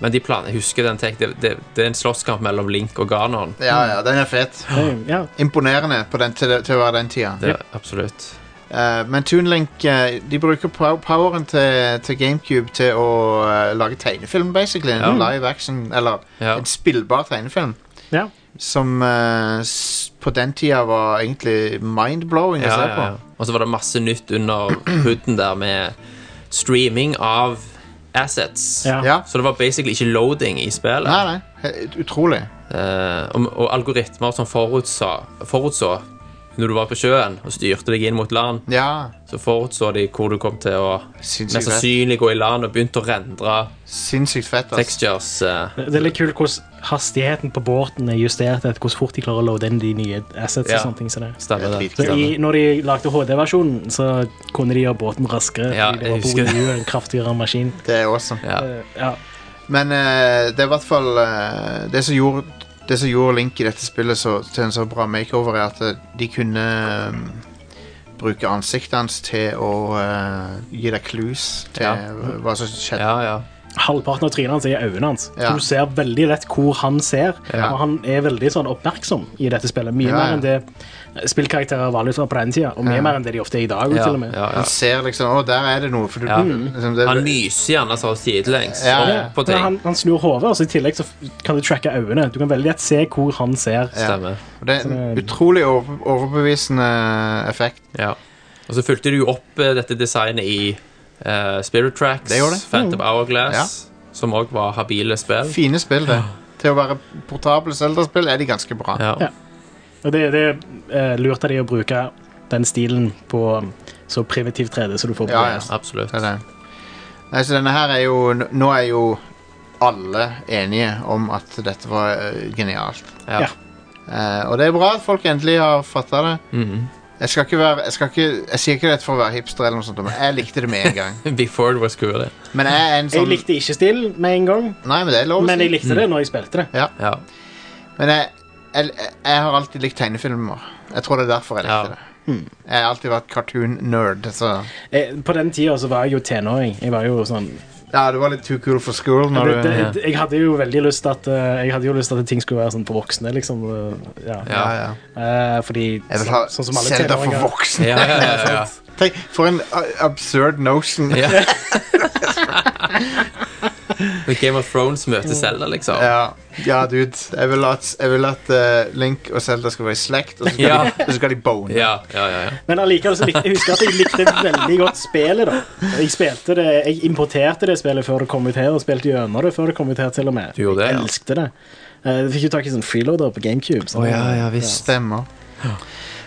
Men de plan, jeg husker den tek, det, det, det er en slåsskamp mellom Link og Ganon. Ja, ja, den er fet. Eh, Ja. Imponerende på den, til, til å være den tida. Det, absolutt. Eh, men Toonlink eh, de bruker pow- poweren til, til GameCube til å eh, lage tegnefilm, basically. En Ja. live action, eller Ja. en spillbar tegnefilm. Ja. Som eh, s- på den tida var egentlig mind-blowing Ja, å se ja, på. ja. Og så var det masse nytt under hooden der med streaming av assets. Ja. Ja. Så det var basically ikke loading i spillet. Nei, nei. Helt Utrolig. Eh, og, og algoritmer som forutså, forutså når du var på sjøen og styrte deg inn mot land, Ja. så forutså de hvor du kom til å mest Sinnssykt fett. sannsynlig gå i land, og begynte å rendre Sinnssykt fett ass. textures. eh. Det det er litt kult hvordan hastigheten på båten er justert etter hvor fort de klarer å loade inn de nye assets. Ja. og sånne ting som det. stemmer det. Dritkult. Så i, når de lagde HD-versjonen, så kunne de gjøre båten raskere. Ja, jeg fordi det var på husker det. Wii U, en kraftigere maskin. Det er awesome. Ja. Eh, Ja. Men eh, det er i hvert fall eh, det, som gjorde, det som gjorde Link i dette spillet så, til en så bra makeover, er at eh, de kunne eh, bruke ansiktet hans til å eh, gi deg clues til Ja. hva som skjedde. ja, ja. Halvparten av trynet hans er i øynene hans. Ja. Så du ser veldig lett hvor han ser. Ja. Og han er veldig sånn oppmerksom i dette spillet. Mye Ja, ja. mer enn det spillkarakterer vanligvis var på den tida, og mye Ja. mer enn det de ofte er i dag. ja, til og med. ja, ja. Han ser liksom Å, der er det noe. For du, Ja. liksom, det, Han myser gjerne så sidelengs Ja, opp ja. på Men ting. han, han snur hodet, og så i tillegg så f- kan du tracke øynene. Du kan veldig lett se hvor han ser. Ja. Stemmer. det er en utrolig over, overbevisende effekt. Ja. Og så fulgte du jo opp eh, dette designet i eh, Spirit Tracks, Det gjorde det. Phantom Hourglass, som òg var habile spill. Fine spill, det. Til å være portable Zelda-spill er de ganske bra. Ja. Ja. Og det, det eh, lurte de å bruke den stilen på så primitivt 3D som du får på Ja, ja. DS. absolutt. Det er det. Nei, så denne her er jo Nå er jo alle enige om at dette var eh, genialt. Ja. Ja. Eh, og det er bra at folk endelig har fatta det. Mhm. Jeg skal ikke være Jeg, skal ikke, jeg sier ikke dette for å være hipster, eller noe sånt men jeg likte det med en gang. Before it was cool. Men jeg er en Jeg sånn likte ikke stilen med en gang, Nei, men det er lov å men si. jeg likte det når jeg spilte det. Ja. Men jeg, jeg, jeg har alltid likt tegnefilmer. Jeg tror det er derfor jeg Ja. likte det. Jeg har alltid vært cartoon-nerd, så Eh, På den tida så var jeg jo tenåring. Jeg var jo sånn Ja, du var litt too cool for school når det, du det, Jeg hadde jo veldig lyst til at eh, Jeg hadde jo lyst til at ting skulle være sånn for voksne, liksom. eh, Ja. Ja. Ja, ja. Eh, fordi Jeg vil ha så- sånn som alle Zelda for tenåringer voksne. Ja, ja, ja, ja. eh, Tenk, for en uh, absurd notion. Ja. Når Game of Thrones møter Zelda, liksom. Ja, ja dude. Jeg vil at, jeg vil at eh, Link og Zelda skal være i slekt, og så skal, Ja. de, og så skal de bone. Ja, ja, ja. ja. Men allikevel så likte jeg husker at jeg likte veldig godt spillet. da Jeg spilte det, jeg importerte det spillet før det kom ut her, og spilte gjennom det før det kom ut her. til og med Du gjorde det, Jeg ja. elsket det. Eh, Jeg fikk jo tak i sånn freeloader på GameCube. sånn. ja visst. Stemmer.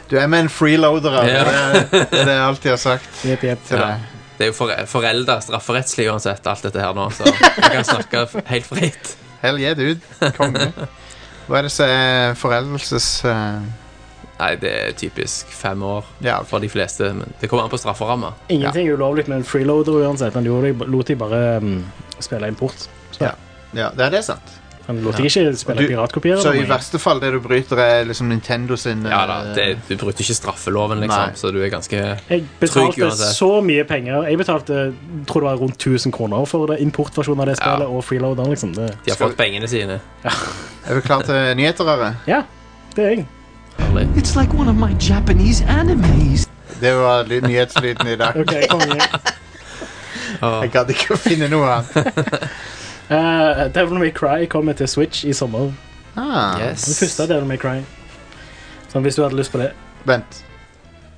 Du er med en freeloader, da. Ja. det er det jeg alltid har sagt Jepp, jepp. til Ja. deg. Det er jo for, forelda strafferettslig uansett, alt dette her nå, så vi kan snakke f- helt fritt. Hell yeah, dude. Konge. Hva er det som er foreldelses eh, Nei, det er typisk fem år Ja, for de fleste, men det kommer an på strafferamma. Ingenting er ulovlig med en freeloader uansett. Han gjorde, det- lot de bare mm, spille import. ja det er det sant. Han lot de ikke spille Du- piratkopier. Så i eller noe. verste fall det du bryter, er liksom Nintendo sin Ja da, eh, det, Du bryter ikke straffeloven, liksom, Nei. så du er ganske Jeg Trygg betalte uansett. så mye penger. Jeg betalte tror det var rundt 1000 kroner for det, importversjonen av det Ja. spillet og freeloaderen. liksom Det, De har Skal- fått pengene sine. Er vi klar til nyheter, Are? ja, det er jeg. Herlig. It's like one of my Japanese animes. Det var ly- nyhetslyden i dag. Ok, kom igjen. Åh. Jeg gadd ikke å finne noe annet. Eh, Devil May Cry kommer til Switch i sommer. Ah, Den første Devil May Cry. Sånn, hvis du hadde lyst på det. Vent.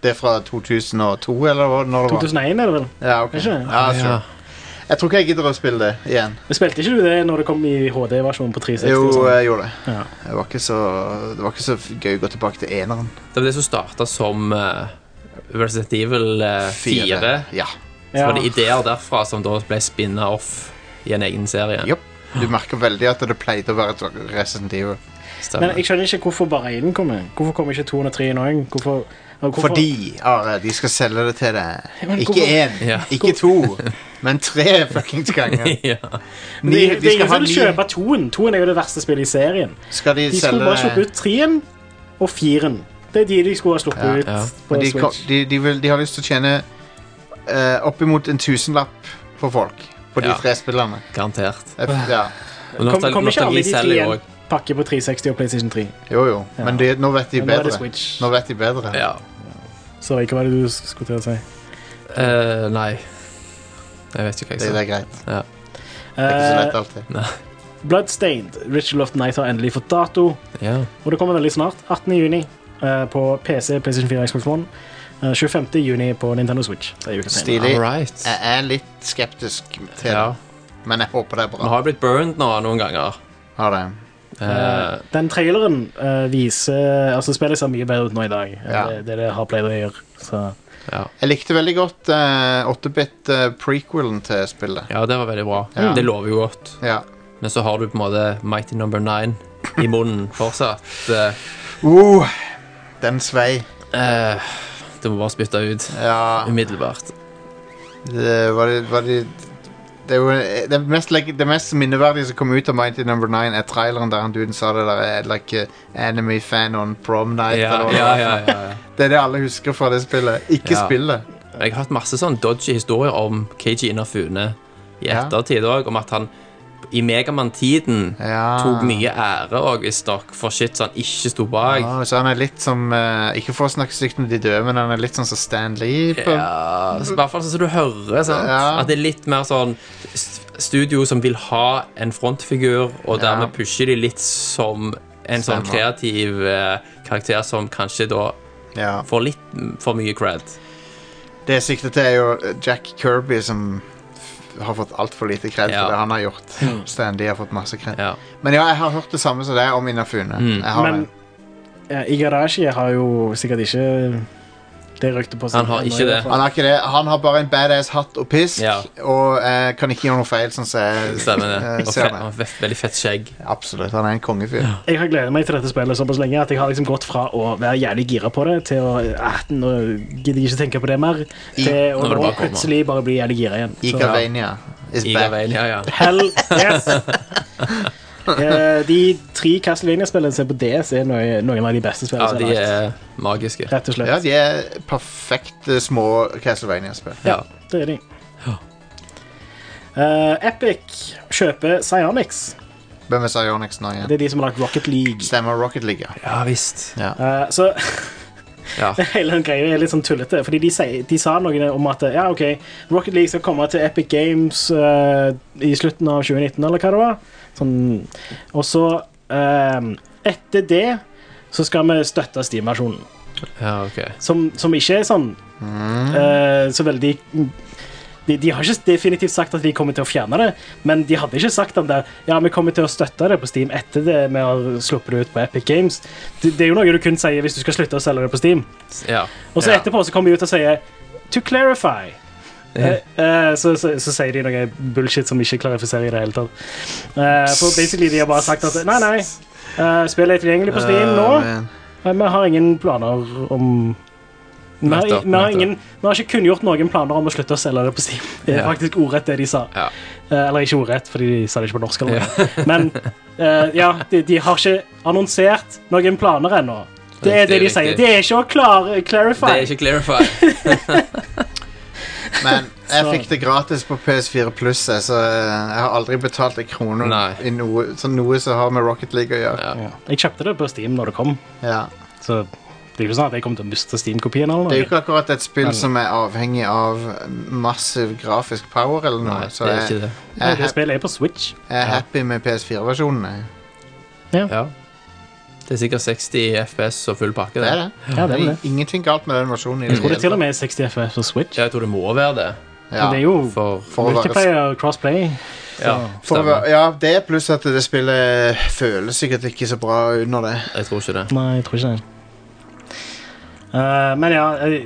Det er fra 2002, eller hva- når det var? 2001 er det vel? Ja, ok. Er ikke det? Ja, sure. Jeg tror ikke jeg gidder å spille det igjen. Spilte ikke du det når det kom i HD-versjonen på 360? og Jo, eh, sånn? jeg gjorde det. Ja. Det var ikke så, det var ikke så f- gøy å gå tilbake til eneren. Det var det som starta som eh, Resident Evil eh, 4. Ja. Så var det ja. ideer derfra som da ble spinna off i en egen serie. Jopp. Du merker veldig at det pleide å være et Resident Evil. Men Stemmer. jeg skjønner ikke hvorfor bare én kommer. Hvorfor kommer ikke 203 nå? Hvorfor, og hvorfor, Fordi, Are, de skal selge det til deg. men Ikke hvorfor- én, Ja. ikke to, men tre fuckings ganger. ja. Det, det, Ni, er de skal ingen ha som vil ni kjøpe toen. Toen er jo det verste spillet i serien. Skal de, De skulle bare selge sluppe ut treeren og firen. Det er de de skulle ha sluppet Ja, ut ja. på Men de, kom- Switch. de, de, vil, de har lyst til å tjene eh, oppimot en tusenlapp på folk. På de Ja. tre spillerne. Garantert. Jeg- Ja. Og Kom- nostal- kom ikke alle nostalgi de tre selger jo igjen? også. Pakke på 360 og PlayStation 3. Jo, jo. Men de, nå vet de Men nå er det bedre. Switch. Nå vet de bedre. Ja. Sorry, hva var det du skulle til å si? Eh, nei. Jeg vet ikke hva Det, det jeg sa. er greit. Det er ikke så Eh, lett alltid. Bloodstained, Ritual of the Night har endelig fått dato. Ja. Og det kommer veldig snart, 18. juni eh, på PC, PlayStation 4, Xbox One. eh, 25. juni på Nintendo Switch. Det er jo ikke senere. Stilig. All right. Jeg er litt skeptisk til Ja. det, men jeg håper det er Vi bra. har jo blitt burned nå noen ganger. Har det. Eh, Den traileren eh, viser Altså, spillet ser mye bedre ut nå i dag. enn Ja. Det, det det har pleid å gjøre. Så. ja. Jeg likte veldig godt eh, 8-bit-prequelen til spillet. ja, det var veldig bra. Ja. Det lover jo godt. Ja. Men så har du på en måte Mighty Number Nine i munnen fortsatt. Eh, Uh, den svei. eh, du må bare spytte ut Ja. umiddelbart. Det Eh, var det, var det det, er jo- eh, det, mest, like, det mest minneverdige som kom ut av Mighty Number 9, er traileren der han duden sa det der eh, like, eh, Enemy fan on prom night. Ja, eller hva det ja, var. ja, ja, ja. Det er det alle husker fra det spillet. Ikke Ja. spillet. Jeg har hatt masse sånn dodgy historier om Keiji Inafune i Ja. ettertid òg, om at han i Megamann-tiden Ja. tok mye ære òg, visstnok, for shit som han ikke sto bak. Ah, så han er litt som eh, Ikke for å snakke stygt om de døde, men han er litt sånn som Stan Lee. På, Ja, så I hvert fall sånn som du hører. Sant? Ja. At det er litt mer sånn st- studio som vil ha en frontfigur, og Ja. dermed pusher de litt som en sånn Stemmer. kreativ eh, karakter som kanskje da Ja. får litt m- for mye cred. Det jeg sikter til, er jo eh, Jack Kirby, som f- har fått altfor lite kred Ja. Mm. for det han har gjort. Stan Lee har fått masse kred. Ja. Men ja, jeg har hørt det samme som deg om Inafune. Mm. Jeg har Men det. ja, Igarashi har jo sikkert ikke det ryktet på seg. Han har ikke det. Han har ikke det. Han har bare en badass hatt og pisk, Ja. og eh, kan ikke gjøre noe feil, sånn som jeg Stemmer det. eh, Og fe ser det. ve veldig fett skjegg. Absolutt. Han er en kongefyr. Jeg har gledet meg til dette spillet såpass lenge at jeg har liksom gått fra å være jævlig gira på det til å eh, Nå gidder jeg ikke tenke på det mer. Til å Nå må det nå bare komme. plutselig bare bli jævlig gira igjen. Så- Igavania is I back. Gavain, ja, ja. Hell yes! Eh, de tre Castlevania-spillene som er på DS, er noe- noen av de beste ja, spillene. som de er lagt. er magiske. Rett og slett. Ja, de er perfekte små Castlevania-spill. Ja. Det er de. Eh, Epic kjøper Psyonix. Hvem er Psyonix nå Det igjen? er de som har lagt Rocket League. Stemmer Rocket League, ja. ja visst. Eh, så Ja. Hele den greia er litt sånn tullete. Fordi de, sier, de sa noe om at ja, ok, Rocket League skal komme til Epic Games eh, i slutten av 2019, eller hva det var. Sånn. Og så eh, Etter det så skal vi støtte Steam-versjonen. ja, ok. Som, som ikke er sånn eh, så veldig de, de har ikke definitivt sagt at de kommer til å fjerne det, men de hadde ikke sagt om det. Ja, vi kommer til å støtte det på Steam etter det vi har sluppet det ut på Epic Games. Det, det er jo noe du kun sier hvis du skal slutte å selge det på Steam. Ja. Og så ja. etterpå så kommer de ut og sier To clarify Eh, eh, så, så, så sier de noe bullshit som ikke klarifiserer i det hele tatt. Eh, for basically De har bare sagt at nei, nei, eh, spillet er tilgjengelig på Steam nå. Åh, man. Nei, Vi har ingen planer om Vi har, Nettopp, vi har, nettopp. ingen, vi har ikke kunngjort noen planer om å slutte å selge det på Steam. Det er Ja. faktisk ordrett, det de sa. Ja. Eh, eller ikke ordrett, fordi de sa det ikke på norsk. Eller noe. Men eh, ja, de, de har ikke annonsert noen planer ennå. Det Riktig, er det de riktig. sier. Det er ikke å klar, Det clarify. er ikke clarify. Men jeg Så- fikk det gratis på PS4 Pluss, jeg, så eh, jeg har aldri betalt en krone Nei. i noe, så noe som har med Rocket League å gjøre. Ja. Jeg kjøpte det på Steam når det kom, Ja. så det er jo ikke sånn at jeg kommer til å miste Steam-kopien. eller Det er jo noe. ikke akkurat et spill som er avhengig av massiv grafisk power eller noe, Nei, så det er jeg, ikke det. Nei, jeg, Det er hap- spillet er på Switch. jeg er happy med PS4-versjonen. jeg. Ja. Det er sikkert 60 FPS og full pakke. Det er Det. det. Ja, det er vel det. er Ingenting galt med den versjonen. i Jeg tror det til og hele med er 60 FF på Switch. Ja, jeg tror det må være det. tatt. Men det Ja. er jo For For å være- multiplayer crossplay. Ja, For å stemmer. være- ja, det er pluss at det spillet føles sikkert ikke så bra under det. Jeg tror ikke det. Nei, jeg tror ikke det. Eh, men ja, eh,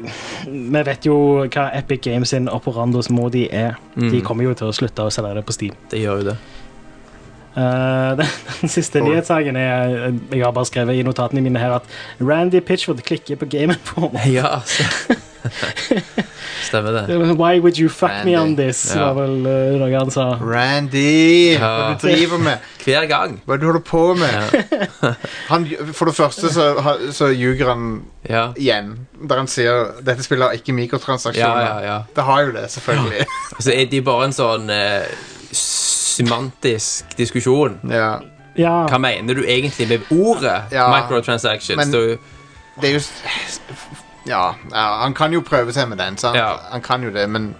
vi vet jo hva Epic Games sin operandos modi er. De Mm. kommer jo til å slutte å selge det på Steam. Det Mm. gjør jo det. Eh, den, den siste Cool. nyhetssaken er eh, Jeg har bare skrevet i notatene mine her at Randy Pitchford klikker på Game Informer. Ja, altså. Stemmer det. Eh, Why would you fuck me on Randy. this? Ja. var vel eh, noe han sa. Randy, hva Ja. du driver med? Hver gang. Hva er det du holder på med? han, for det første så, ha- så ljuger han Ja. igjen, der han sier dette spillet har ikke Ja, mikrotransaksjoner. ja, ja. Det har jo det, selvfølgelig. Så er de bare en sånn eh, semantisk diskusjon. ja. Ja. Hva mener du egentlig med ordet Ja. microtransactions? Men- Du- Det er jo s- ja, ja, han kan jo prøve seg med den, sant? Ja. Han kan jo det, men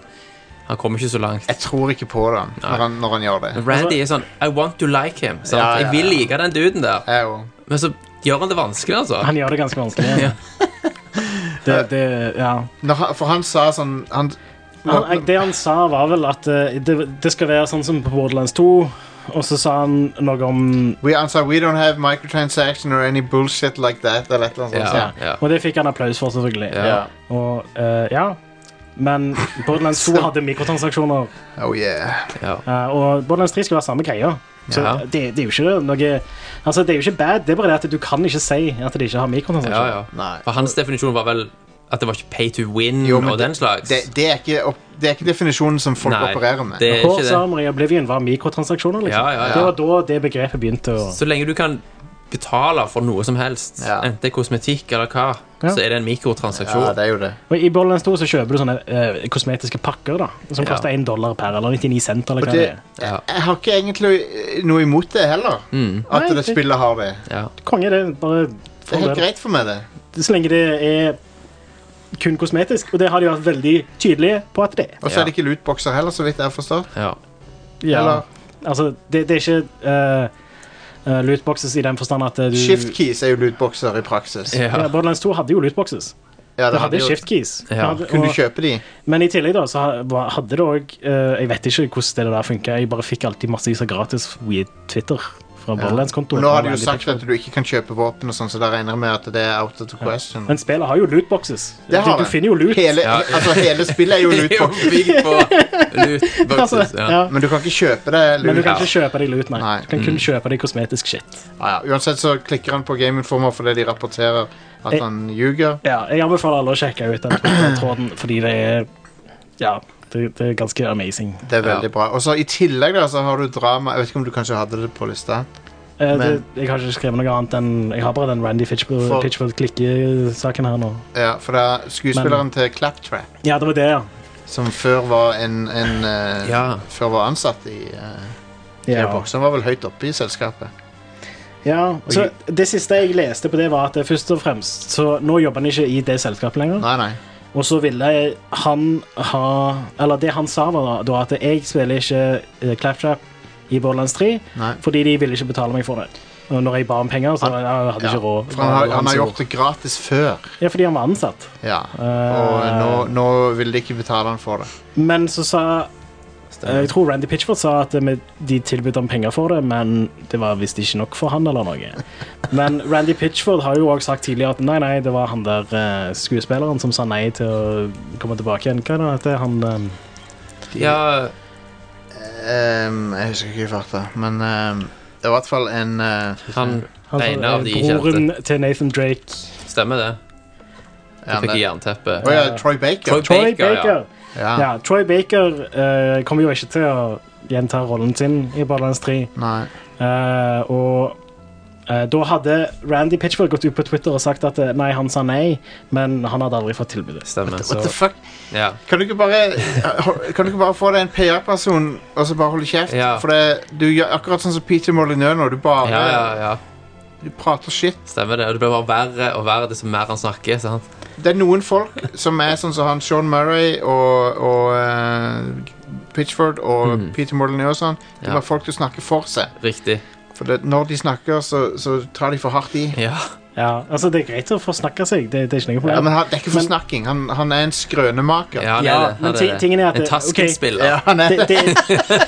han kommer ikke så langt. jeg tror ikke på det når han, når han gjør det. Randy er sånn I want to like him. Sant? Ja, ja, Jeg vil ja. like den duden der. Jeg òg. Men så gjør han det vanskelig, altså. Han gjør det ganske vanskelig. Ja. Det, det, ja. Når han- For han sa sånn han, han, jeg- det han sa, var vel at eh, det, det skal være sånn som på Borderlands 2, og så sa han noe om we, han sa We don't have microtransaction or any bullshit like that. Eller et eller annet sånt. Ja, Ja. ja. Og det fikk han applaus for, selvfølgelig. Ja. Ja. Og, eh, ja. Men Borderlands 2 hadde mikrotransaksjoner, Oh yeah. ja. eh, og Borderlands 3 skulle være samme greia. Så Ja. det, det er jo ikke noe Altså, det er jo ikke bad, det er bare det at du kan ikke si at de ikke har ja, mikrotransaksjoner. ja. Nei. For hans definisjon var vel at det var ikke pay to win Jo, men og den slags. Det, det, er ikke, opp, det er ikke definisjonen som folk Nei, opererer med. det er ikke Forza det. Maria Oblivion var mikrotransaksjoner, liksom. Ja, ja, ja. Det var da det begrepet begynte å Så lenge du kan betale for noe som helst, Ja. enten det er kosmetikk eller hva, Ja. så er det en Ja, mikrotransaksjon. det er jo det. Og I Borderlands 2 så kjøper du sånne eh, kosmetiske pakker da som Ja. koster 1 dollar per, eller 99 cent. eller Og hva det, det er. jeg, jeg har ikke egentlig eh, noe imot det heller. Mm. At Nei, det det- spillet har det. Ja. Konge, det. er bare Det er helt fordel. greit for meg, det. Så lenge det er kun kosmetisk, og det har de vært veldig tydelige på at det er. Og så Ja. er det ikke lootboxer heller, så vidt jeg har forstått. Ja. Eller Altså, det, det er ikke eh, eh, lootboxes i den forstand at eh, du Shift keys er jo lootboxer i praksis. Ja. Ja, Borderlands 2 hadde jo lootboxes. Ja, Det hadde jo- shift keys. Det Ja. hadde- Kunne og- du kjøpe de? Men i tillegg da, så ha- var- hadde det òg Jeg vet ikke hvordan det der funka. Jeg bare fikk alltid massevis av gratis via Twitter fra Og Borderlands-kontoen. nå har de jo Og Randy sagt Pitchford. at du ikke kan kjøpe våpen, og sånn, så da regner jeg med at det er out of the question. Men spillet har jo lootboxes. Det har du, du det. finner jo loot. Hele, Ja. altså, hele spillet er jo Det er jo lootbox, bygd på Altså, lootboxes. ja. Ja. men du kan ikke kjøpe det. Men du loot. kan ikke kjøpe deg loot, nei. Nei. Mm. Du kan kun kjøpe deg kosmetisk shit. Ja, ja. Uansett så klikker han på Game Informer fordi de rapporterer at Jeg- han ljuger. Ja, jeg anbefaler alle å sjekke ut den Twitter-tråden, fordi det er Ja, det, det er ganske amazing. Det er veldig bra. Og så I tillegg da, så har du drama Jeg vet ikke om du kanskje hadde det på lista. Eh, det, Men- jeg har ikke skrevet noe annet enn Jeg har bare den Randy Fitchfield- For- Fitchfield-klikke-saken her nå. Ja, for det er skuespilleren til Claptrap, Ja, det var det, ja. som før var en, en eh, Ja. Før var ansatt i eh, ja. Gearbox. Han var vel høyt oppe i selskapet. Ja, så Det siste jeg leste på det, var at det først og fremst Så nå jobber han ikke i det selskapet lenger. Nei, nei. Og så ville han ha Eller det han sa, var da, da at jeg spiller ikke eh, Claptrap i Borderlands 3 Nei. fordi de ville ikke betale meg for det. Og når jeg ba om penger, så han, han hadde Ja. ikke råd. For han, har, han har gjort det gratis før. Ja, fordi han var ansatt. Ja. Og Eh. nå, nå vil de ikke betale han for det. Men så sa Jeg tror Randy Pitchford sa at eh, de tilbød ham penger for det, men det var visst ikke nok for han eller noe. Men Randy Pitchford har jo også sagt tidligere at nei, nei, det var han der eh, skuespilleren som sa nei til å komme tilbake igjen. Hva er det han heter? Han eh, Ja, Ehm, jeg husker ikke i farta, men ehm, det var i hvert fall en eh, han Han Den ene av de eh, broren til Nathan Drake. stemmer det. ja, Jeg fikk det- jernteppe. Å ja, Troy Baker. Troy Troy Baker, Baker. ja. Ja. Ja. Troy Baker eh, kommer jo ikke til å gjenta rollen sin i Borderlands 3. Nei. Eh, og eh, da hadde Randy Pitchford gått ut på Twitter og sagt at eh, nei, han sa nei, men han hadde aldri fått tilbudet. Stemmer. What the Så, fuck? ja. Kan du ikke bare Kan du ikke bare få deg en PR-person og så bare holde kjeft? Ja. For det, du gjør akkurat sånn som Peter Molyneux nå. Du bare ja, ja, ja. Du prater shit. Stemmer det. Og det blir bare verre og verre desto mer han snakker. sant? Det er noen folk som er sånn som han Sean Murray og, og eh, Pitchford og Peter Molyneux og sånn. Det er Mhm. Ja. bare folk du snakker for seg. Riktig. For det, når de snakker, så, så tar de for hardt i. Ja. Ja, altså Det er greit å forsnakke seg. Det, det er ikke noe Ja, problem. men han, det er ikke forsnakking. Han, han er en skrønemaker. Ja, han Ja, er det. men Han er ti- det. tingen er at En det- ok. taskenspiller. Ja, han er det, det,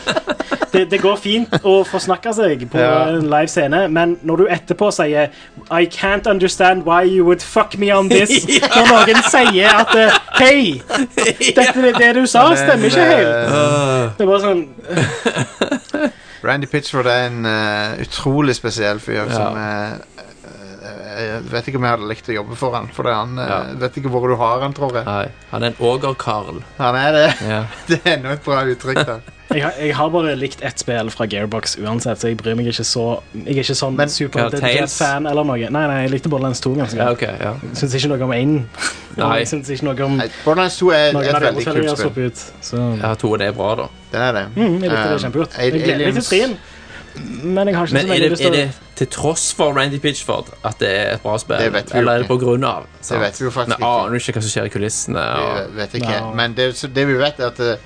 det, det går fint å forsnakke seg på Ja. en live scene, men når du etterpå sier I can't understand why you would fuck me on this Når noen sier at eh, Hei, dette er det du sa, stemmer ikke helt. Det er bare sånn eh, Randy Pitchford er en eh, utrolig spesiell fyr som eh, eh, Jeg vet ikke om jeg hadde likt å jobbe for han, for det er han eh, Ja. vet ikke hvor du har han, tror jeg. Nei, han er en Åger-Karl. Han er det. Ja. Det er enda et bra uttrykk der. jeg, har- jeg har bare likt ett spill fra Gearbox uansett, så jeg bryr meg ikke så Jeg er ikke sånn Men- Tales? superdedikert fan eller noe. Nei, nei, jeg likte Borderlands 2 ganske ja, godt. ok, ja. Syns ikke noe om 1. Nei. Jeg syns ikke noe om Nei, Borderlands 2 er noen et av de andre veldig spillene jeg kult har spill. sluppet ut. Så ja to av det er bra, da. Det er det. Mm, jeg likte det Um, kjempegodt. A- Jeg gleder meg til Aliens- trien. Men jeg har ikke Men så er veldig det, lyst er til å det til tross for Randy Pitchford at det er et bra spill? Det vet vi jo Eller er det ikke. på grunn av? ah, sant? vet vi jo faktisk Vi aner jo ikke hva som skjer i kulissene. Vi Og... vet ikke. Nei. Men det, så det vi vet, er at eh,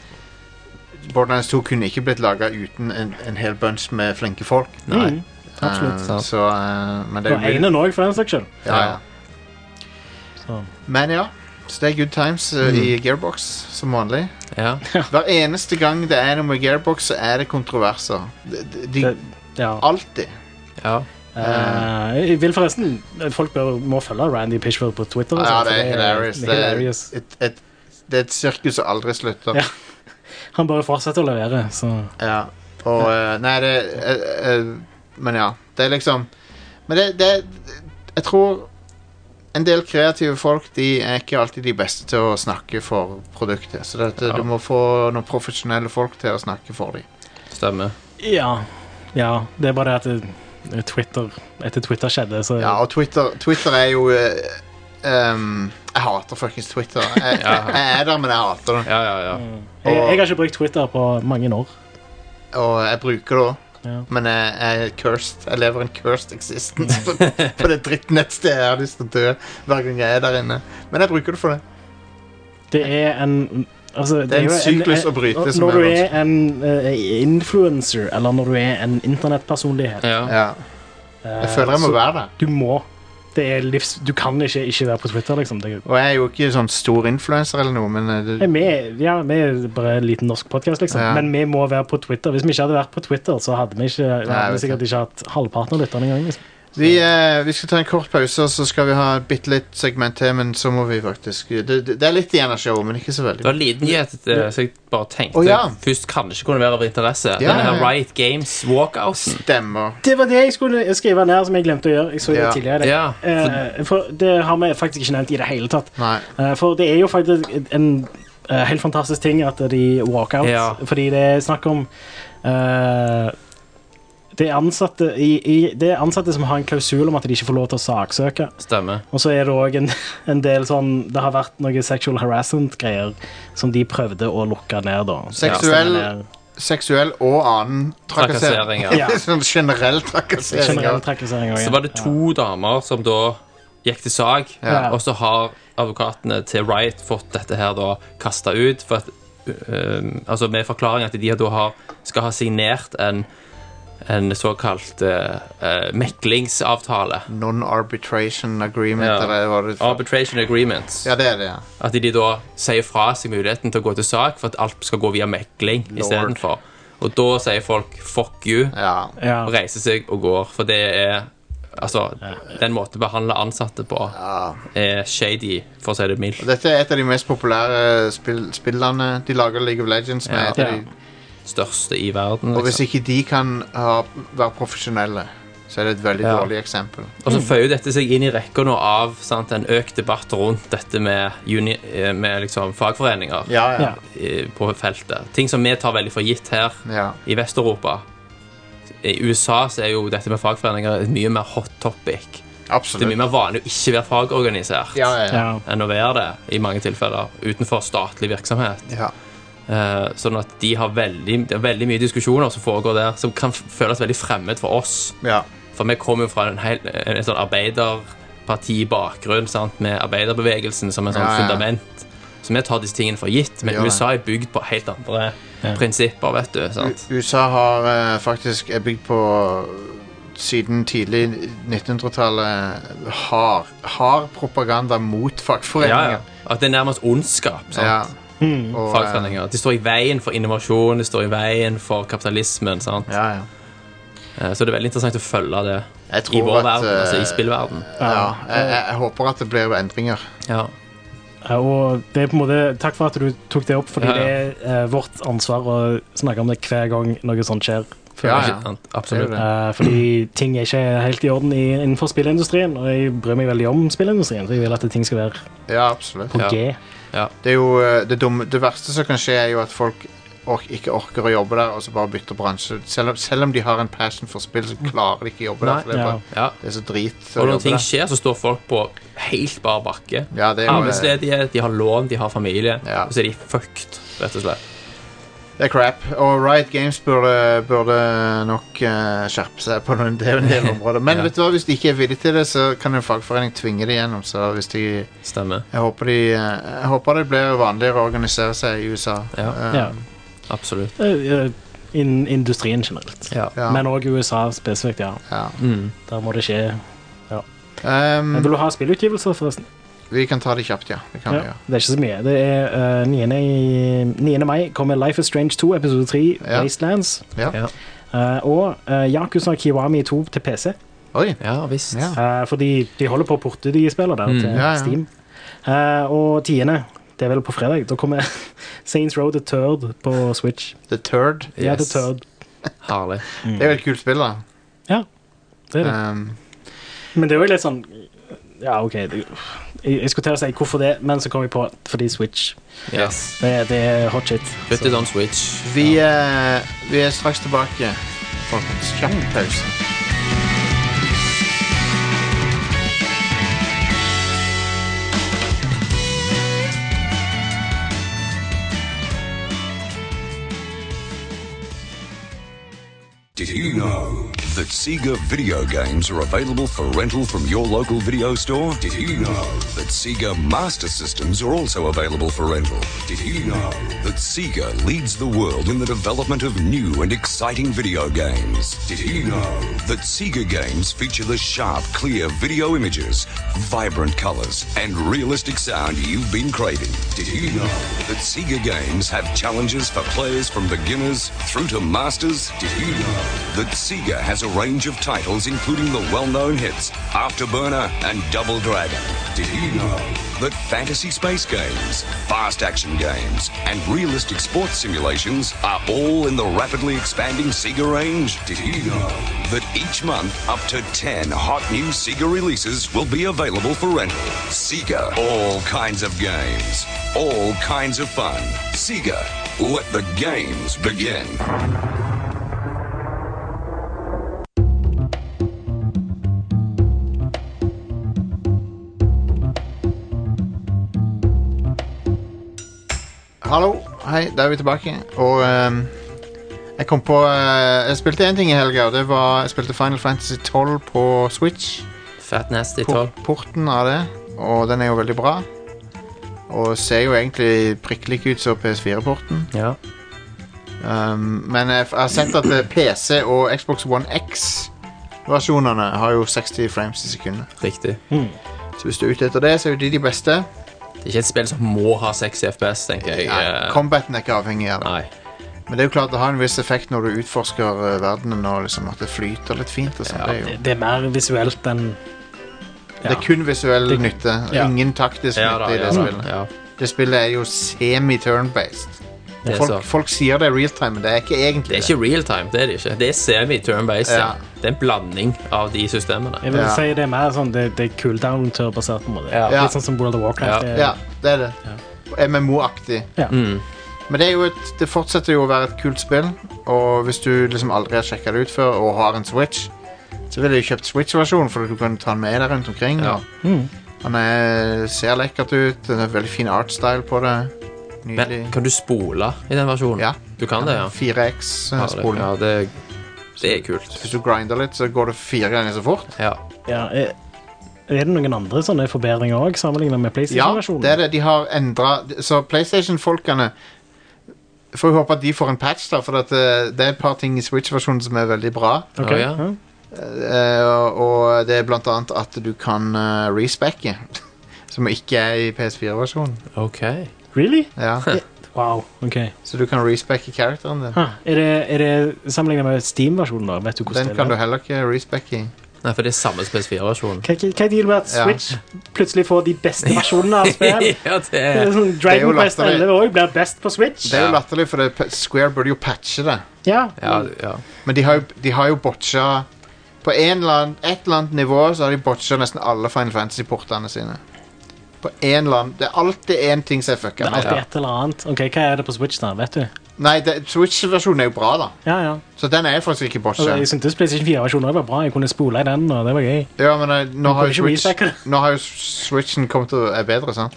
Borderlands 2 kunne ikke blitt laga uten en, en hel bunch med flinke folk. Nei. Mm, Absolutt. Eh, så, eh, men det Det er var umulig. ene nå, for den saks skyld. Ja, ja. Så. Mm. Men ja, så det er good times eh, i Gearbox som vanlig. Ja. Hver eneste gang det er noe med Gearbox, så er det kontroverser. De, de, de, Det- Ja. alltid. ja. Ah, Eh, jeg vil forresten Folk bør, må følge Randy Pitchford på Twitter. og Ah, Ja, sånt, det for er hilarious. Det er hilarious. et, et, det er et sirkus som aldri slutter. Ja. Han bare fortsetter å levere, så Ja. Og eh, Nei, det eh, eh, Men ja. Det er liksom Men det, det Jeg tror en del kreative folk De er ikke alltid de beste til å snakke for produktet. Så det, at Ja. du må få noen profesjonelle folk til å snakke for dem. Stemmer. Ja. Ja, det er bare det at det- Twitter Etter Twitter skjedde, så Ja, og Twitter, Twitter er jo eh, um, Jeg hater fuckings Twitter. Jeg, jeg, jeg er der, men jeg hater det. Ja, ja, ja. Mm. jeg, jeg har ikke brukt Twitter på mange år. Og jeg bruker det òg. Ja. Men jeg, jeg er cursed. Jeg lever en cursed existence på, på det drittnettstedet. Jeg har lyst til å dø hver gang jeg er der inne. Men jeg bruker det for det. Det er en Altså, det, en jo syklus å bryte Når som er du er en eh, influencer, eller når du er en internettpersonlighet eh, ja. Ja. Jeg føler jeg må være der. Du må. Det er livs... Du kan ikke ikke være på Twitter, liksom. Det er Og jeg er jo ikke sånn stor influenser eller noe, men eh, Nei, det, vi, er- ja, vi er bare en liten norsk podkast, liksom. Ja. men vi må være på Twitter. Hvis vi ikke hadde vært på Twitter, så hadde vi, ikke, hadde vet vi sikkert ikke hatt halvparten av lytterne engang. Liksom. vi, eh, vi skal ta en kort pause, og så skal vi ha et bitte litt segment til, men så må vi faktisk Det, det, det er litt igjen av showet, men ikke så Det veldig. var en liten gjet, eh, så jeg bare tenkte Å, ja. først kanskje kunne være av interesse. Ja, Denne ja, her ja. Riot Games walkouten. Stemmer. Det var det jeg skulle skrive ned, som jeg glemte å gjøre. Jeg så det Ja. tidligere. Ja, Eh, for det har vi faktisk ikke nevnt i det hele tatt. Nei. Eh, For det er jo faktisk en eh, helt fantastisk ting at de walk out, Ja. fordi det er snakk om eh, det er, ansatte i, i, det er ansatte som har en klausul om at de ikke får lov til å saksøke. Stemmer. Og så er det òg en, en del sånn Det har vært noe sexual harassment-greier som de prøvde å lukke ned, da. Seksuell Ja, seksuell og annen trakassering. Trakassering, ja. Ja. sånn generell trakassering. Generell ja. trakassering også, Så ja. var det to damer som da gikk til sag, Ja. og så har advokatene til Wright fått dette her da kasta ut. For at, øhm, altså med forklaring at de da har, skal ha signert en, en såkalt eh, eh, meklingsavtale. Non-arbitration agreement, Ja. eller hva det var. Arbitration agreements. Ja, det er det, ja. At de da sier fra seg muligheten til å gå til sak, for at alt skal gå via mekling istedenfor. Og da sier folk 'fuck you'. ja. Ja. og reiser seg og går. For det er Altså, den måten å behandle ansatte på er shady, for å si det mildt. Dette er et av de mest populære spill spillene. De lager League of Legends med Ja. et av Ja. de Største i verden. Og hvis Liksom. ikke de kan ha, være profesjonelle, så er det et veldig Ja. dårlig eksempel. Og så føyer dette seg inn i rekka nå av sant, en økt debatt rundt dette med, uni, eh, med liksom fagforeninger Ja, ja. Ja. eh, på feltet. Ting som vi tar veldig for gitt her ja. i Vest-Europa. I USA så er jo dette med fagforeninger et mye mer hot topic. Det er Absolutt. mye mer vanlig å ikke være fagorganisert Ja, ja, ja. Ja. enn å være det i mange tilfeller utenfor statlig virksomhet. ja. Eh, sånn at de har veldig, det er veldig mye diskusjoner som foregår der, som kan f- føles veldig fremmed for oss. ja. For vi kommer jo fra en, hel, en sånn arbeiderpartibakgrunn, sant, med arbeiderbevegelsen som en sånn Ja, ja. fundament. Så vi tar disse tingene for gitt, men Ja, ja. USA er bygd på helt andre prinsipper, vet du. sant? U- USA har eh, faktisk er bygd på siden tidlig 1900-tallet hard, hard propaganda mot Ja, ja. fagforeninger. At det er nærmest ondskap. sant? Ja. Mm. Og, eh, Fagforeninger. De står i veien for innovasjon, de står i veien for kapitalismen. sant? ja, ja. Eh, Så det er veldig interessant å følge det Jeg i vår tror at verden, altså eh, i spillverden. ja, jeg, jeg, jeg håper at det blir endringer. Ja. Ja, Eh, Og det er på en måte, takk for at du tok det opp, fordi Ja, ja. det er eh, vårt ansvar å snakke om det hver gang noe sånt skjer. Ja, føler jeg. ja. Absolutt. Det er jo det. Eh, fordi ting er ikke helt i orden i, innenfor spillindustrien, og jeg bryr meg veldig om spillindustrien, så jeg vil at ting skal være Ja, absolutt. på Ja. G. Det er jo eh, det, dumme, det verste som kan skje, er jo at folk ork, ikke orker å jobbe der, og så bare bytter bransje. Selv, om- selv om de har en passion for spill, så klarer de ikke å jobbe Nei, der. For det, er ja. bare, Ja. det er så drit å Og når jobbe ting der. skjer, så står folk på helt bar bakke. Ja, det er jo det. Arbeidsledighet, de har lån, de har familie. Ja. Og så er de fucked, rett og slett. Det er crap. Og Riot Games burde, burde nok eh, skjerpe seg på noen del, del områder. Men Ja. vet du hva, hvis de ikke er villige til det, så kan en fagforening tvinge det gjennom. Så hvis de, Stemmer. jeg, håper de, eh, jeg håper det blir vanligere å organisere seg i USA. Ja. Eh, Ja. Absolutt. Eh, eh, Innen industrien generelt. Ja. Ja. Men òg USA spesifikt, ja. ja. Mm. Der må det skje. Eh, Ehm, Vil du ha spillutgivelser, forresten? vi kan ta det kjapt, ja. Det kan vi Ja, gjøre. det er ikke så mye. Det er eh, 9. i- 9. mai kommer Life is Strange 2, episode 3, Ja. Wastelands. Ja. Ja. Eh, og uh, Yakuza Kiwami 2 til PC. Oi. ja visst. Ja. Eh, fordi de holder på å porte de spillene der til Ja, ja. Steam. Eh, og tiende, det er vel på fredag, da kommer Saints Row the Third på Switch. The Turd. Ja, The Yes. Third. Herlig. Det er jo et kult spill, da. Det er det. Ehm, Men det er jo litt sånn Ja, OK. Det, jeg, jeg skulle til å si hvorfor det, men så kom jeg på fordi Switch. Yes. Det, det er hot shit. Put it on switch. vi, eh, vi er straks tilbake. Folkens, kjapp pause. Did you know that Sega video games are available for rental from your local video store? Did you know that Sega Master Systems are also available for rental? Did you know that Sega leads the world in the development of new and exciting video games? Did you know that Sega games feature the sharp, clear video images, vibrant colors, and realistic sound you've been craving? Did you know that Sega games have challenges for players from beginners through to masters? Did you know that Sega has a range of titles including the well-known hits Afterburner and Double Dragon? Did you know that fantasy space games, fast action games, and realistic sports simulations are all in the rapidly expanding Sega range? Did you know that each month up to 10 hot new Sega releases will be available for rental? Sega, all kinds of games, all kinds of fun. Sega, let the games begin. Hallo, hei, da er vi tilbake. Og ehm, Jeg kom på eh, Jeg spilte én ting i helga, og det var Jeg spilte Final Fantasy 12 på Switch. Fat Nasty Por 12. porten av det, og den er jo veldig bra. Og ser jo egentlig prikk lik ut som PS4-porten. Ja. Um, men jeg f- jeg har sett at eh, PC og Xbox One X-versjonene har jo 60 frames i sekundet. Riktig. Så hvis du er ute etter det, så er jo de de beste. Det er ikke et spill som må ha 6 i FPS, tenker jeg. Nei, Eh, combaten er ikke avhengig av det. Nei. Men det er jo klart det har en viss effekt når du utforsker eh, verdenen og liksom at det flyter litt fint. Og sånt. det, er jo, Det, det er mer visuelt enn det er kun visuell Det- nytte. ja. Ingen taktisk Ja da, nytte i det ja, da, spillet. ja. Det spillet er jo semi-turn-based. Det, er Folk, så. folk sier det er real time, men det er ikke egentlig det er ikke real time, det er det ikke. Det er semi-turn-based. Ja. Ja. Det er en blanding av de systemene. Jeg vil Ja. si det er mer sånn Det, det er cooldown-turbasert. på en måte. Ja. Litt sånn som World of Warcraft. Ja. er. Ja, Mm. det er det. MMO-aktig. Ja. Men det, er jo et, det fortsetter jo å være et kult spill, og hvis du liksom aldri har sjekka det ut før og har en Switch, så ville jeg kjøpt Switch-versjonen, for du kan ta den med deg rundt omkring. Ja. og Han er, ser lekkert ut, det er veldig fin artstyle på det. Nydelig. Men kan du spole i den versjonen? Ja. Du kan det, ja. 4X-spolen. Ja, det, det er kult. Hvis du grinder litt, så går det fire ganger så fort. Ja. Ja, er, er det noen andre sånne forbedringer òg, sammenlignet med Ja, PlayStation-versjonen? det er det. De har endra Så PlayStation-folkene Får jo håpe at de får en patch, da, for at eh, det er et par ting i Switch-versjonen som er veldig bra. Ok, Å, ja. ja. Eh, og- og det er blant annet at du kan eh, respecke, som ikke er i PS4-versjonen. OK. Really? Ja. Wow. ok Så du kan respecke characteren din. Hæ, Er det, er det sammenlignet med Steam-versjonen? da? Vet du hvordan Den kan du det er? heller ikke respecke i. Nei, for det er samme PS4-versjonen. Hva hva er dealen med at Ja. Switch plutselig får de beste versjonene av spill? ja, det Det er er sånn er jo Dragon Quest latterlig. 11 òg blir best på Switch. Det er jo Ja. latterlig, for det, pa- Square burde jo patche det. Ja, ja, ja. Men de har jo, de har jo botcha På en eller annen, et eller annet nivå så har de botcha nesten alle Final Fantasy-portene sine. På en eller annen Det er alltid én ting som er fucka. Det er alltid Ja. et eller annet. Ok, Hva er det på Switch, da? Vet du? Nei, det- Switch-versjonen er jo bra, da. Ja, ja. Så den er faktisk ikke Altså, botcha. jeg syntes PlayStation 4-versjonen var bra. Jeg kunne spole i den, og det var gøy. Ja, men eh, nå har, kan jo ikke Switch, recycle det. nå har jo Switchen kommet til å være bedre, sant?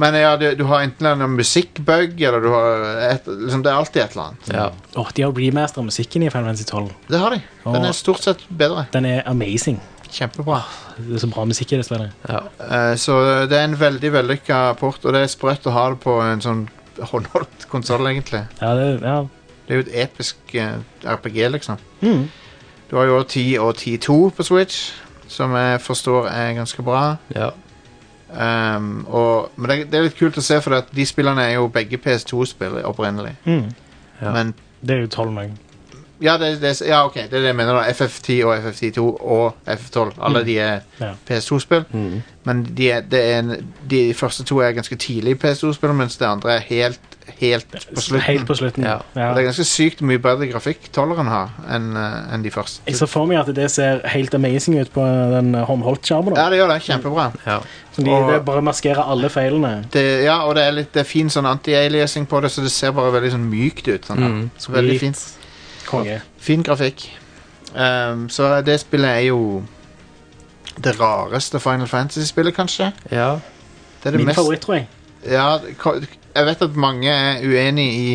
Men eh, ja, du, du har enten en musikkbug, eller du har et, liksom, Det er alltid et eller annet. ja. Åh, de har remasteret musikken i Final Fantasy 12. Det har de. Den Åh. er stort sett bedre. Den er amazing. Kjempebra. Det er så bra musikk i det spillet. ja. Eh, så det er en veldig vellykka port, og det er sprøtt å ha det på en sånn håndholdt konsoll, egentlig. Ja, det, ja. Det er jo et episk eh, RPG, liksom. Du har jo 10 og 10-2 på Switch, som jeg forstår er ganske bra. ja. Um, og, men det, det er litt kult å se, for at de spillene er jo begge PS2-spill opprinnelig. Mm. Ja. Men Det er jo 12 nå. ja, det, det, ja, ok, det er det jeg mener. da FF10 og FF2 og FF12. Alle de er Ja. PS2-spill. Men de, er, det er en, de første to er ganske tidlig PS2-spill, mens det andre er helt, helt på slutten. Helt på slutten. Ja. Ja. Og Det er ganske sykt mye bedre grafikk tolleren har enn eh, enn de første. Jeg ser for meg at det ser helt amazing ut på den håndholdt-skjermen. Ja, da. det gjør det. Kjempebra. ja. Som de og- det bare maskerer alle feilene. Det, ja, og det er, litt, det er fin sånn anti-aliasing på det, så det ser bare veldig sånn mykt ut. Sånn, Mm. Så veldig Sweet. fint. Konge. Fin grafikk. Ehm, så det spillet er jo det rareste Final Fantasy-spillet, kanskje. ja. Det er det Min mest favoritt, tror jeg. ja, ko- Jeg vet at mange er uenig i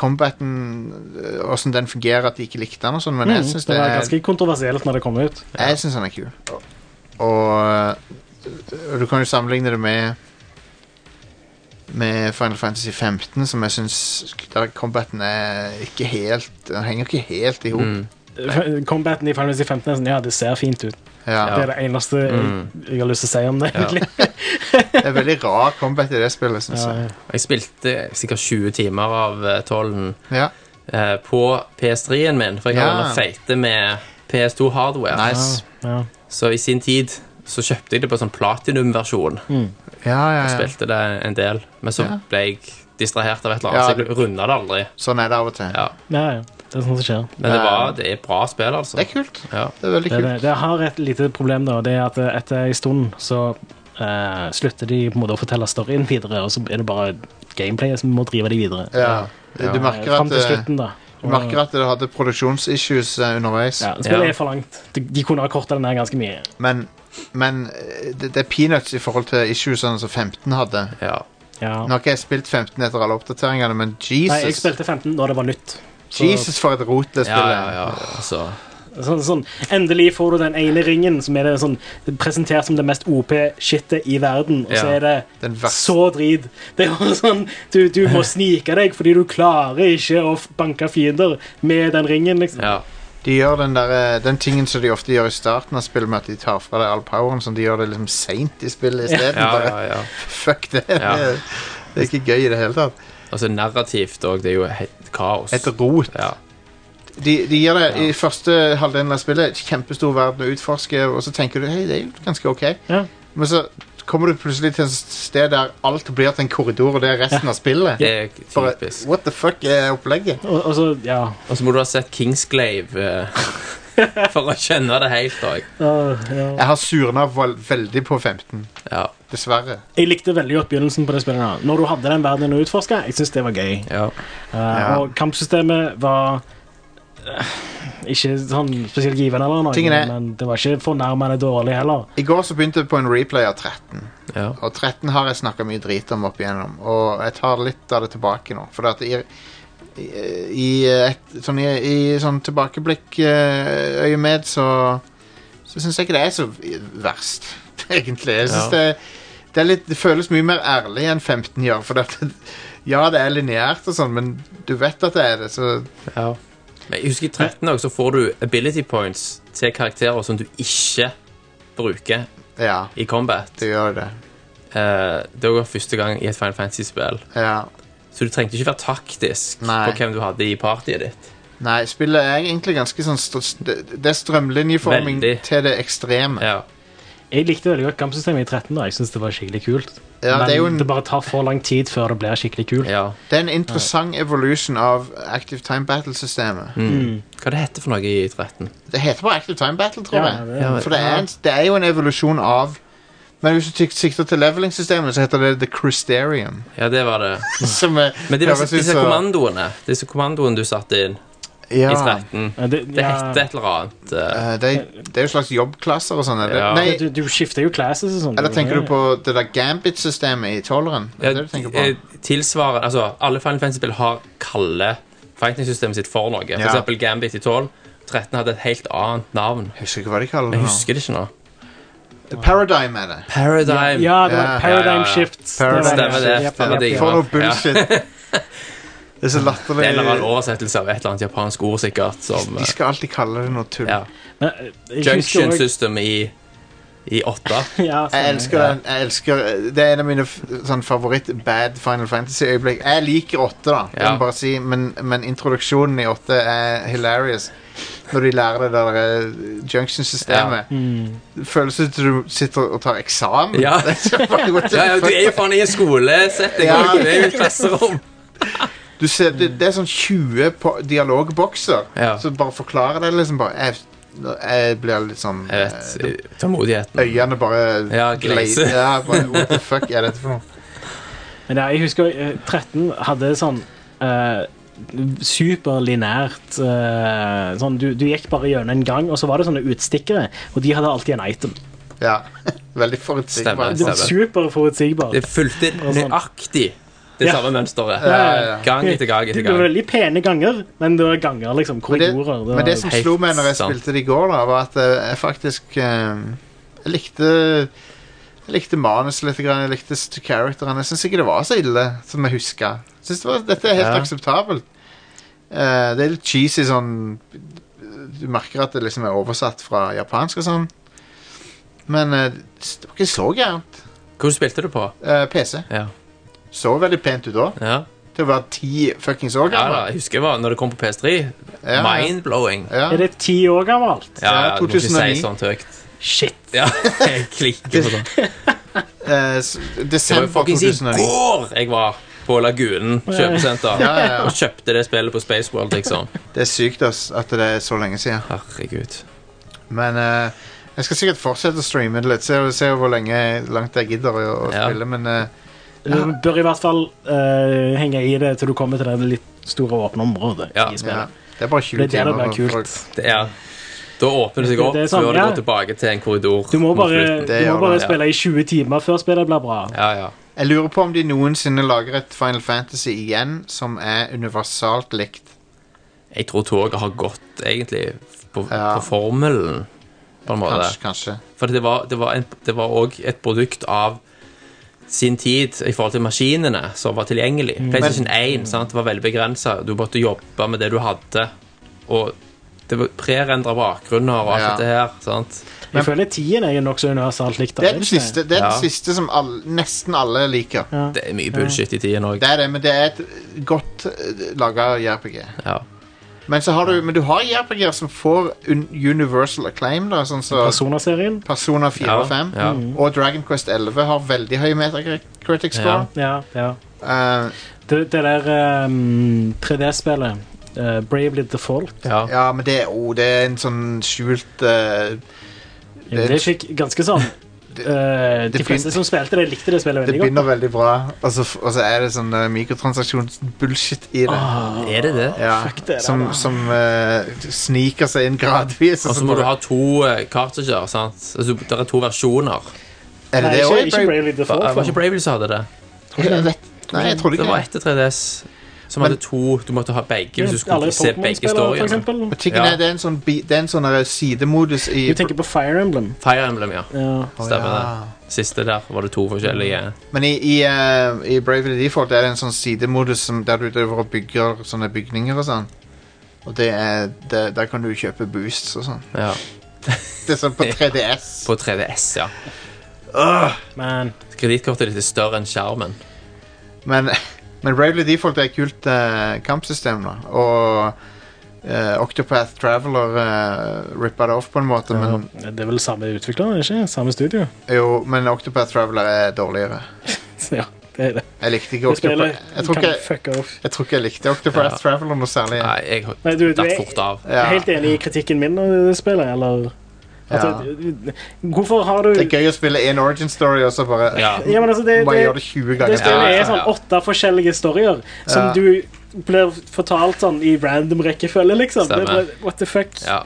combaten, øh, Hvordan den fungerer, at de ikke likte den, og sånn, men jeg Mm, syns det det var er- ganske kontroversielt når det kom ut. jeg synes den er kul. Og øh, du kan jo sammenligne det med med Final Fantasy 15, som jeg syns der combaten er ikke helt Den henger ikke helt i hop. Mm. Combaten i Final Fantasy 15 er sånn, ja, det ser fint ut. Ja. Mm. Det er det eneste jeg, jeg har lyst til å si om det, egentlig. Det er veldig rar combat i det spillet, syns Ja, jeg. Jeg spilte sikkert 20 timer av eh, 12 Ja. eh, på PS3-en min, for jeg har Ja. ja. feite med PS2-hardware. Nice. ja. Så i sin tid så kjøpte jeg det på sånn platinum-versjon. Ja, ja, ja. Spilte det en del, men så Ja. ble jeg distrahert av et eller Ja, annet, du- så jeg runda det aldri. Sånn er det av og til. Ja. ja, ja. Det er sånn som skjer. Men det, Ja. var, det er bra spill, altså. Det er kult. Ja. Det er veldig Det, er kult. det, det har et lite problem, da. Det er at eh, etter en stund så eh, slutter de på en måte å fortelle storyen videre, og så er det bare gameplayet som må drive de videre. Ja. Du merker Fram at, til eh, slutten, da. du merker at det hadde produksjonsissues eh, underveis, ja, spillet Ja. er for langt. De, de kunne ha korta den her ganske mye. men, men eh, det, det er peanuts i forhold til issuesene som 15 hadde. Ja. Ja. Nå har ikke jeg spilt 15 etter alle oppdateringene, men Nei, jeg Jesus! spilte 15 da det var nytt. Så- Jesus, for et rot det Ja, spillet. ja, ja. Altså, Sånn, sånn, endelig får du den ene ringen som er det sånn, presentert som det mest OP-shitet i verden, og så Ja. er det Den verste. så drit. Det er bare sånn, du, du må snike deg fordi du klarer ikke å f- banke fiender med den ringen. liksom. ja. De gjør den, der, eh, den tingen som de ofte gjør i starten av spillet, med at de tar fra deg all poweren, sånn de gjør det liksom seint i spillet isteden. Ja, Bare, ja, ja. Fuck det. Ja. Det- Det er ikke gøy i det hele tatt. Altså narrativt òg. Det er jo helt kaos. Et rot. Ja. De, de gjør det i første halvdelen av spillet. Kjempestor verden å utforske, og så tenker du hei, det er jo ganske ok. Ja. Men så kommer du plutselig til et sted der alt blir til en korridor, og det er resten av spillet. Det er Bare, typisk. what the fuck er opplegget? Og, og så, ja. Og så må du ha sett Kingsglaive eh, for å skjønne det helt òg. Øh, ja. Jeg har surna vel- veldig på 15, Ja, dessverre. Jeg likte veldig godt begynnelsen på det spillet. da. Når du hadde den verdenen å utforske, jeg synes det var gøy. ja. Eh, Og kampsystemet var eh, ikke sånn spesielt givende, eller Tingen noe, er- men det var ikke fornærmende dårlig heller. I går så begynte jeg på en replay av 13. ja. Og 13 har jeg snakka mye drit om opp igjennom, og jeg tar litt av det tilbake nå. For at i, i, i, et, sånn, i, i sånn tilbakeblikk-øyemed så, så syns jeg ikke det er så verst, egentlig. Jeg synes Ja. det, det, er litt, det føles mye mer ærlig enn 15 gjør. For at, ja, det er lineært og sånn, men du vet at det er det, så ja. Men jeg husker i 13 òg, så får du ability points til karakterer som du ikke bruker ja. i combat. Du gjør det. Eh, det var første gang i et Final Fantasy-spill. Ja. Så du trengte ikke være taktisk Nei. på hvem du hadde i partiet ditt. Nei, spillet er egentlig ganske sånn str- Det er strømlinjeforming Veldig. til det ekstreme. Ja. Jeg likte veldig godt kampsystemet i 13. da. Jeg synes det var skikkelig kult. Ja, Men det er jo en- bare tar for lang tid før det blir skikkelig kult. ja. Det er en interessant evolution av Active Time Battle-systemet. Mm. Hva det heter for noe i 13? Det heter bare Active Time Battle, tror Ja, jeg. det er- For det er, en, det er jo en evolusjon av Men hvis du tyk- sikter til leveling-systemet, så heter det The Crysterium. Ja, det var det. Som er, Men det var høres ut disse som- kommandoene Disse kommandoene du satte inn eh, ja, i 13 Ja, Det, Det ja, hette et eller annet eh, eh, det, er- det er jo slags jobbklasser og sånn. er det? Ja. Nei, Du, du skifter jo classes og sånn. eller tenker du på det der Gambit-systemet i tolveren? Er det det du tenker eh, på? Tilsvarende Altså, alle Final Fantasy-spill har kalle fighting-systemet sitt for noe. For Ja. eksempel Gambit i 12. 13 hadde et helt annet navn. Jeg husker ikke hva de kaller det Jeg nå. husker det ikke nå. The Paradigm er det. Paradigm. Ja, det Ja, var ja, Paradigm ja. Shift. Paradigm var Stemmer det, Japp, stemmer japp, det. japp. For noe bullshit. Det er så Det er en eller annen latterlig. oversettelse av et eller annet japansk ord, sikkert. Som, De eh, skal alltid kalle det noe tull. ja. Men, eh, jeg husker Junction også- System i, i 8. Ja, Jeg stemmer. elsker den. Jeg elsker, det er en av mine f- sånn, favoritt-bad Final Fantasy-øyeblikk. Jeg liker åtte, da, Ja. kan bare si, men, men introduksjonen i åtte er hilarious. Når de lærer det der eh, junction-systemet. Det Føles ut som du sitter og tar eksamen. Ja. Det er så bare what the Ja, ja, du fuck? er jo faen i en skolesetting. Ja. og Du er jo i et klasserom. Du ser, det, det er sånn 20 po- dialogbokser Ja. som bare forklarer det. liksom bare Jeg, jeg blir litt sånn Jeg vet. eh, Tålmodigheten. Øynene bare Ja, glaser. glader. Ja, bare, what the fuck er dette for noe? Men ja, jeg husker eh, 13 hadde sånn eh, superlinært eh, sånn, du, du gikk bare gjennom en gang, og så var det sånne utstikkere, og de hadde alltid en item. Ja. Veldig Stemmer, forutsigbart. Det var superforutsigbart. Det fulgte nøyaktig det Ja. samme mønsteret. Ja, ja, ja. Gang etter gang etter Det var gang. veldig pene ganger, men det var ganger, liksom. Men det, Korridorer. men det som helt slo meg når jeg sant. spilte det i går, da, var at eh, jeg faktisk eh, Jeg likte Jeg likte manuset litt, grann, jeg likte st- characterene. Jeg syns ikke det var så ille som jeg huska. Jeg synes det var, dette er helt Ja. akseptabelt. Eh, det er litt cheesy sånn Du merker at det liksom er oversatt fra japansk og sånn. Men eh, det var ikke så gærent. Hvor spilte du på? Eh, PC. Ja. Så veldig pent ut da. ja. Til å være ti fuckings år ja da, gammel. jeg husker det var når det kom på PS3. Ja. Mind-blowing. Ja, Ja. Er det ti år gammelt? ja, Ja, du må ikke 2009. si sånt høyt. Shit. Ja, jeg klikker på sånt. Eh, s- Det var jo desember fuckings i 2009. går jeg var på Lagunen kjøpesenter Ja, ja, ja. og kjøpte det spillet på Spaceworld, liksom. Det er sykt ass, at det er så lenge siden. Herregud. Men eh, jeg skal sikkert fortsette å streame det litt. Se, se hvor lenge langt jeg gidder å, å Ja. spille. Men eh, Du bør i hvert fall eh, henge i det til du kommer til det litt store åpne området Ja. i ja, spillet. det er bare Det 20 er det det timer. blir for- kult. Det er, da åpner det seg opp Det er sånn, før du ja. går tilbake til en korridor. Du må mot bare, slutten. du Det gjør må bare det. spille i 20 timer før spillet blir bra. Ja, ja. jeg lurer på om de noensinne lager et Final Fantasy igjen som er universalt likt. Jeg tror toget har gått, egentlig, på, Ja. på formelen, på en måte. Kanskje, kanskje. For det var, det var en- det var òg et produkt av sin tid i forhold til maskinene som var tilgjengelig. PlayStation 1 sant, var veldig begrensa. Du måtte jobbe med det du hadde. Og det var prerendra bakgrunner og alt Ja. dette her. sant? Jeg føler tiden er jo nokså universalt likt. Det er den siste, det er den Ja. siste som alle, nesten alle liker. Det er mye bullshit i tiden òg. Det er det, men det er et godt laga JRPG. Ja. Men, så har du, men du har JRPG-er som får un universal acclaim, da, sånn som Persona-serien. Mm. Persona 4 Ja, og 5. ja. Og Dragon Quest 11 har veldig høy metacritic score. Ja, ja. Eh, Det, det der ehm, 3D-spillet, eh, Bravely Default, Ja. ja, men det, er- oh, det er en sånn skjult eh, det, det fikk ganske sånn eh, De det fleste begyn- som spilte det, likte det spillet Det veldig godt. begynner veldig bra, og så, og så er det sånn eh, mikrotransaksjons-bullshit i det. Er det Ah, det? ja, fuck det der, som da. som eh, sniker seg inn gradvis. sånn. Og så Altså, må du ha to eh, cartridger. sant? Altså, det er to versjoner. Er Nei, det det ikke, også? ikke Var, Bravely Default. var ikke Bravely som hadde det? Er det det? Nei, jeg trodde Det ikke var det. etter 3DS som hadde to Du måtte ha begge hvis du skulle Alle se begge Pokémon-spillere, for storyene. eksempel. Men tingen Ja. er, det er en sånn, bi- det er en sånn der sidemodus i Du tenker på Fire Emblem. Fire Emblem, ja. Ja. Stemmer ja. det. Siste der var det to forskjellige Men i, i, eh, i Bravely Default er det en sånn sidemodus som der du driver og bygger sånne bygninger og sånn. Og det er, det, der kan du kjøpe boosts og sånn. ja. Det er sånn på 3DS. på 3DS. ja Men Kredittkortet ditt er større enn skjermen. Men, men Bravely Default er et kult eh, kampsystem da Og eh, Octopath Traveler uh, Rippet det off på en måte men, det er vel samme utvikler, ikke? Samme studio. Jo, men Octopath Traveler er dårligere Så ja, det er det. Jeg likte ikke Det spillet Octopath jeg, tror kan ikke- fucka off. jeg tror ikke jeg likte Octopath Ja. Traveler noe særlig Nei, jeg har Nei, du- du datt er- fort av. Jeg ja. er helt enig i kritikken min av det spillet, eller Ja. altså, Hvorfor har du Det er gøy å spille en origin story Og så bare Ja. Ja, men altså, det, Bare gjør det, det 20 det ganger spillet Ja, ja, er sånn ja. åtte forskjellige storyer Ja. som du blir fortalt sånn i random rekkefølge, liksom. Det er Stemmer. bare, what the fuck? Ja.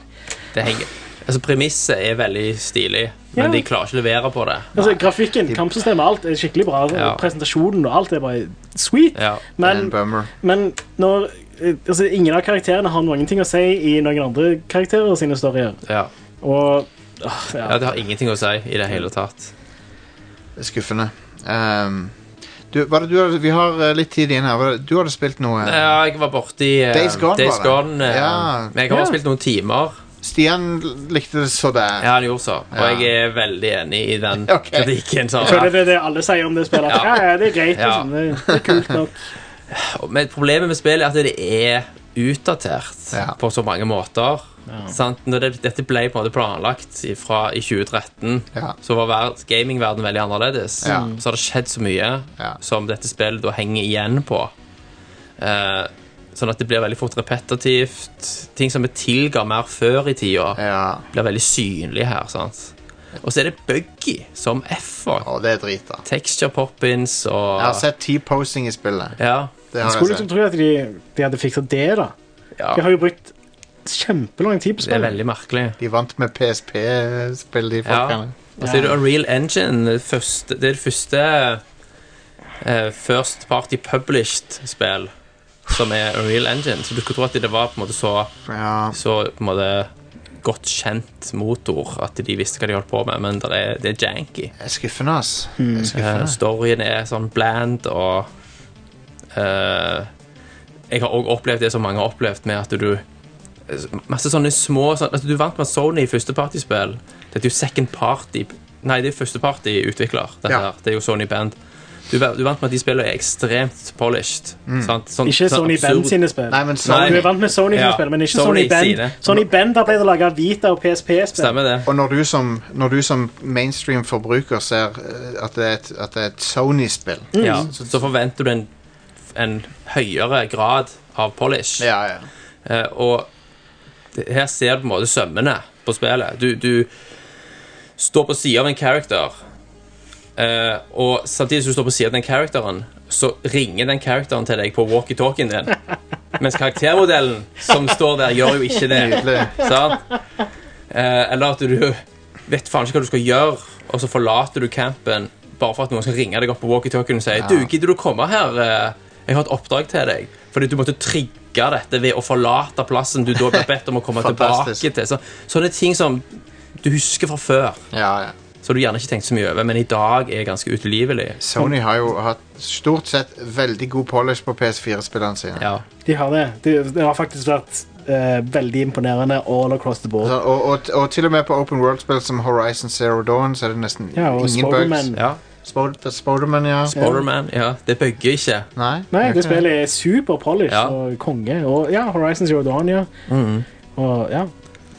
Det henger Altså, Premisset er veldig stilig, men Ja. de klarer ikke å levere på det. Altså, grafikken, kampsystemet, alt er skikkelig bra. Ja. Presentasjonen og alt er bare sweet. Ja. Det er en Men, bummer men når eh, altså, ingen av karakterene har noen ting å si i noen andre karakterer sine storyer. Ja. Og åh, ja. ja, Det har ingenting å si i det hele tatt. Det er skuffende Ehm, du, var det, du, hadde- Vi har eh, litt tid igjen her Var det- Du hadde spilt noe Ja, jeg var borti eh, Days Gone, Days var det? Gone. eh, Ja. Men jeg har Ja. bare spilt noen timer. Stian likte det så der Ja, han gjorde så. Og Ja. jeg er veldig enig i den Ok. kritikken. Sara. Føler det er det alle sier om det spillet. At, ja. Ja. ja, det er greit. Ja. Liksom. Det, det er kult nok. Men problemet med spillet er at det er utdatert Ja. på så mange måter. Sant? Når det, dette ble på en måte planlagt fra i 2013, Ja. så var verd, gamingverden veldig annerledes. Ja. Så har det skjedd så mye Ja. som dette spillet da henger igjen på. Eh, sånn at det blir veldig fort repetitivt. Ting som vi tilga mer før i tida, Ja. blir veldig synlig her. Sant? Og så er det buggy som F-er. Å, det er drit da Texture pop-ins og Jeg har sett T-posing i spillet. ja. Det Jeg har skulle jeg liksom sett. tro at de, de hadde fiksa det, da. ja. De har jo brukt kjempelang tid på Det er spillet. veldig merkelig. De vant med PSP-spill, de folkene. Og så er det Unreal Engine. Det, første, det er det første eh, First Party Published-spill som er Unreal Engine. Så du skulle tro at det var på en måte så, Ja. så på en måte godt kjent motor at de visste hva de holdt på med, men det er, det er janky. Det er skuffende, ass. Det er Eh, skuffende. storyen er sånn bland og eh, Jeg har òg opplevd det som mange har opplevd, med at du eh, Masse sånne små sånn, altså Du er vant med at Sony i førstepartyspill. Det er jo second party Nei, det er førstepartyutvikler. dette Ja. her. Det er jo Sony Band. Du, er- du er vant med at de spillene er ekstremt polished. Mm. Sant? Sånn, sånn Ikke Sony absurd- Bend sine spill. Nei, men Nei. Du Sony er vant med Sony sine Ja. spill, men ikke Sony Sony, sine. Bend. Sony Bend der ble det laga Vita og PSP-spill. Stemmer det. Og når du som, når du som mainstream forbruker ser eh, at det er et, at det er et Sony-spill Ja. Så, så forventer du en, en høyere grad av polish. Ja, ja. Eh, og det- her ser du på en måte sømmene på spillet. Du, du står på sida av en character, eh, og samtidig som du står på sida av den characteren, så ringer den characteren til deg på walkietalkien din. Mens karaktermodellen som står der, gjør jo ikke det. Nydelig. Sant? Eh, eller at du vet faen ikke hva du skal gjøre, og så forlater du campen bare for at noen skal ringe deg opp på walkietalkien og si Du, gidder du komme her? Eh, Jeg har et oppdrag til deg. Fordi du måtte trigge trigge dette ved å forlate plassen du da ble bedt om å komme tilbake Fantastisk. til. Så, sånne ting som du husker fra før, Ja, ja. så du gjerne ikke tenkte så mye over, men i dag er ganske utelivelig. Sony har jo hatt stort sett veldig god polish på PS4-spillene sine. Ja. De har det. Det, det har faktisk vært eh, veldig imponerende all across the board. Så, og, og, og til og med på open world-spill som Horizon Zero Dawn så er det nesten Ja, og ingen bugs. Spider-Man. ja. Spod- Spiderman, ja. Borderman, ja. Det bugger ikke. Nei, det Nei, er det ikke det. spillet er super polish Ja. Mm. og konge. Og ja, Horizon Zero Dawn, ja. Og ja.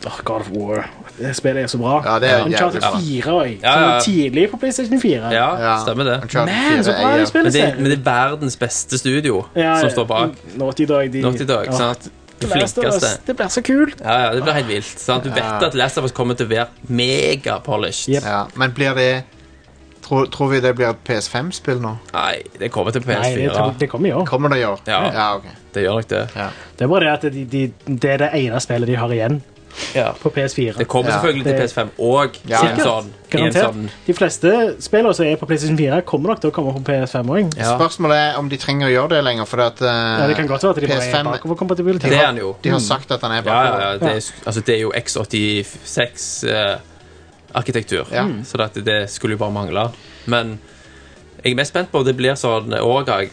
Åh, God of War. Det spillet er så bra. Ja, det er jævlig Uncharted bra. 4 også, Ja, som ja. er tidlig på PlayStation 4. Ja, Ja. stemmer det. Uncharted Man, så 4 bra er- det spillet Men det, ser men det er verdens beste studio Ja, som står bak Naughty Dog. De, Naughty Dog. Åh, sant? De Last of Us, flinkeste. Det blir så kult. Ja, ja, det blir helt vilt. Sant? Du vet at Last of Us kommer til å være megapolished. Yep. Ja, men blir det tror, tror vi det blir et PS5-spill nå? Nei, det kommer til Nei, det, PS4. det kommer i år. Kommer det i år? Ja. ja ok. Det gjør nok det. Det er bare det at de, de, det er det ene spillet de har igjen Ja. på PS4. Det kommer Ja. selvfølgelig til Det- PS5 òg. Ja, ja. Sånn, i en Garantert. sånn De fleste spillene som er på PlayStation 4, kommer nok til å komme på PS5 også. ja. Spørsmålet er om de trenger å gjøre det lenger, for at, eh, Ja, det kan godt være at de bare er PS5 bakoverkompatibilitet. Det er han jo. De har sagt at han er Ja, ja, bakover. ja. Det, er, altså, det er jo X86-arkitektur, Ja. Mm. så det, det skulle jo bare mangle. Men jeg er mest spent på om det blir sånn overgang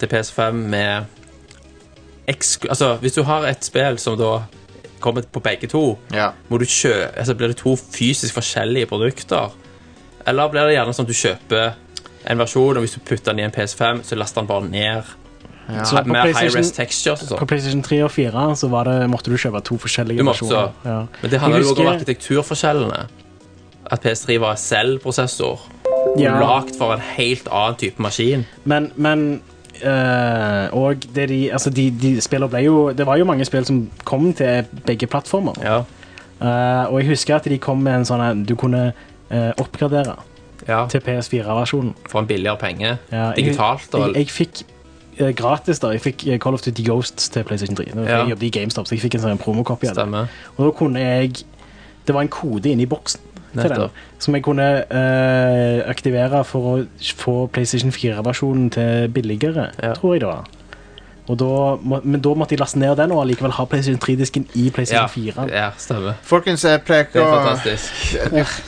til PS5 med eksklu... Altså, hvis du har et spill som da kommer på begge to, Ja. må du kjø altså, Blir det to fysisk forskjellige produkter? Eller blir det gjerne sånn at du kjøper en versjon, og hvis du putter den i en PS5, så laster den bare ned? Så på Mer high-res PlayStation, textures og på sånn. PlayStation 3 og 4 så var det, måtte du kjøpe to forskjellige Du måtte versjoner. så. Ja. Men det handler jo Jeg også om husker- arkitekturforskjellene. At PS3 var selv-prosessor, Ja. lagd for en helt annen type maskin. Men, men eh, Og det de, altså de, de spillene ble jo Det var jo mange spill som kom til begge plattformer. Ja. Eh, og jeg husker at de kom med en sånn en du kunne eh, oppgradere ja. til PS4-versjonen. For en billigere penge. Ja, jeg- Digitalt Jeg, og jeg fikk eh, gratis da, jeg fikk eh, Call of Duty Ghosts til PlayStation 3. Når Ja. Jeg jobbet i GameStop, så jeg fikk en sånn promokopi av det. Stemmer. Og da kunne jeg Det var en kode inni boksen til den, Nettopp. som jeg kunne eh, aktivere for å få PlayStation 4-versjonen til billigere, Ja. tror jeg det var. Og da, må- men da måtte jeg laste ned den og allikevel ha PlayStation 3-disken i Ja, PlayStation 4. ja, stemmer. Folkens, jeg pleier Det ikke er å fantastisk.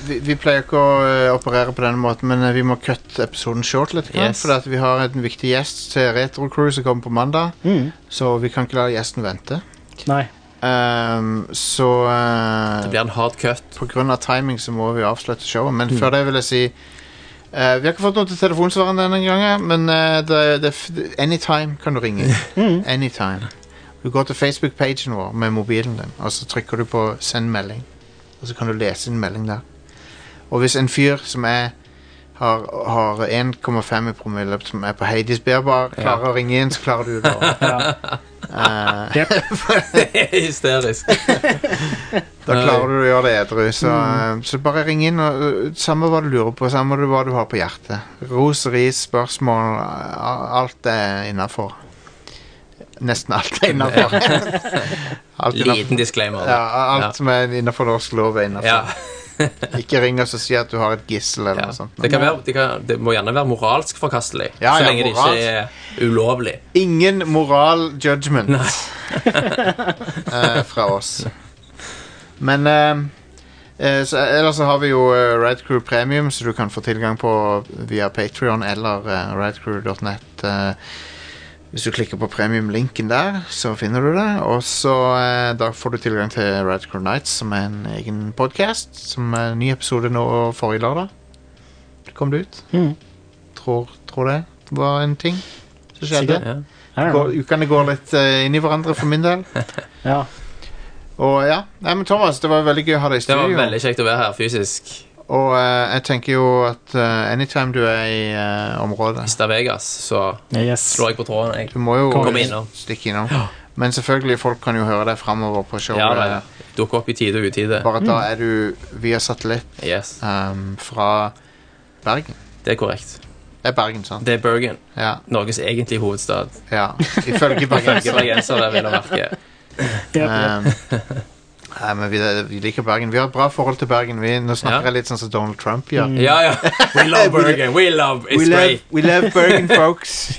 vi, vi pleier ikke å eh, operere på denne måten, men eh, vi må kutte episoden short litt. Yes. For vi har en viktig gjest til Retro Crew som kommer på mandag, Mm. så vi kan ikke la gjesten vente. Nei. Ehm, så eh, Det blir en hard cut. på grunn av timing så må vi avslutte showet, men før det vil jeg si eh, vi har ikke fått noe til telefonsvareren denne gangen, men eh, det, det, anytime kan du ringe. Anytime. Du går til Facebook-pagen vår med mobilen din, og så trykker du på 'send melding'. Og så kan du lese en melding der. Og hvis en fyr som er har, har 1,5 i promille, som er på Heidis Berbar, klarer å ringe inn, så klarer du det. også. Ja. Eh, Yep. Hysterisk. Da Eh, klarer du å gjøre det edru. Så, mm. eh, så bare ring inn. og eh, Samme hva du lurer på, samme hva du har på hjertet. Ros, ris, spørsmål. eh, Alt er innafor. Nesten alt er innafor. alt, innenfor- Liten disclaimer. ja, alt Ja. som er innafor norsk lov, er innafor. Ja, Ikke ring oss og si at du har et gissel eller ja. noe sånt. Det, kan være, det, kan, det må gjerne være moralsk forkastelig, Ja, så ja, lenge det ikke er ulovlig. Ingen moral judgment eh, fra oss. Men eh, eh, så, Ellers så har vi jo eh, Red Crew Premium, så du kan få tilgang på via Patrion eller eh, radcrew.net. eh. hvis du klikker på premium-linken der, så finner du det. Og så eh, da får du tilgang til Red Crew Nights, som er en egen podkast. Som er en ny episode nå og forrige lørdag. Kom det ut? Mhm. Tror, tror det var en ting som skjedde. Sikkert. Ja. I don't Går, know. ukene går litt eh, inn i hverandre for min del. Ja. Og ja, Nei, men Thomas, det var veldig gøy å ha deg i Det var studio. veldig kjekt å være her fysisk. Og eh, jeg tenker jo at eh, anytime du er i eh, området Vista Vegas, så Yes. slår jeg på tråden. Jeg. Du må jo Kom innom. stikke innom. Men selvfølgelig, folk kan jo høre deg framover på showet. Ja, da, ja. Dukker opp i tide og utide. Bare da er du via satellitt Yes, ehm, fra Bergen. det er korrekt. Det er Bergen, sant? Det er Bergen, Ja. Norges egentlige hovedstad. ja. Ifølge Ifølge bergensere. bergensere, vil jeg merke. Yep. Ehm, Nei, men vi, vi liker Bergen. Vi har et bra forhold til Bergen. Vi, nå snakker Ja. jeg litt sånn som Donald Trump gjør. Ja, ja. We love Bergen. We love we It's great. Love, we love Bergen, folks.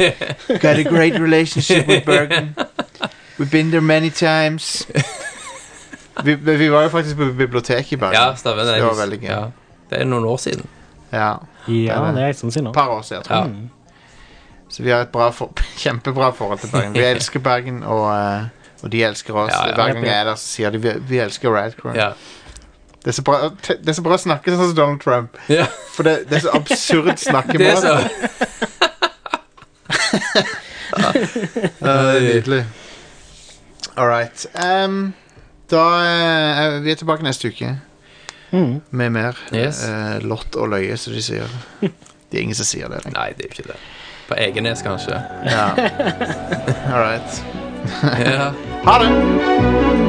Got a great relationship with Bergen. We've been there many times. vi, men vi var jo faktisk på biblioteket i Bergen. Ja, stemmer. så Det, det var veldig gøy. Ja. Det er noen år siden. Ja. Ja, Ja, det er en stund siden Et nå. par år siden, tror Ja. jeg. Så vi har et bra for, kjempebra forhold til Bergen. Vi elsker Bergen, og, eh, og de elsker oss. Ja, ja. Hver gang jeg er der, så sier de vi, vi elsker Radcrow. Ja. Det, er så bra- te- det er så bra å snakke sånn som Donald Trump. Ja. For det, det er så absurd snakkemåte. Det er så Ja, det er nydelig. All right. Ehm, da eh, er Vi er tilbake neste uke Mm. med mer. Yes. Eh, lott og løye, som de sier. Det er ingen som sier det. lenger. Nei, det er jo ikke det. På Egenes, kanskje. Ja. All right. Ja. Ha det!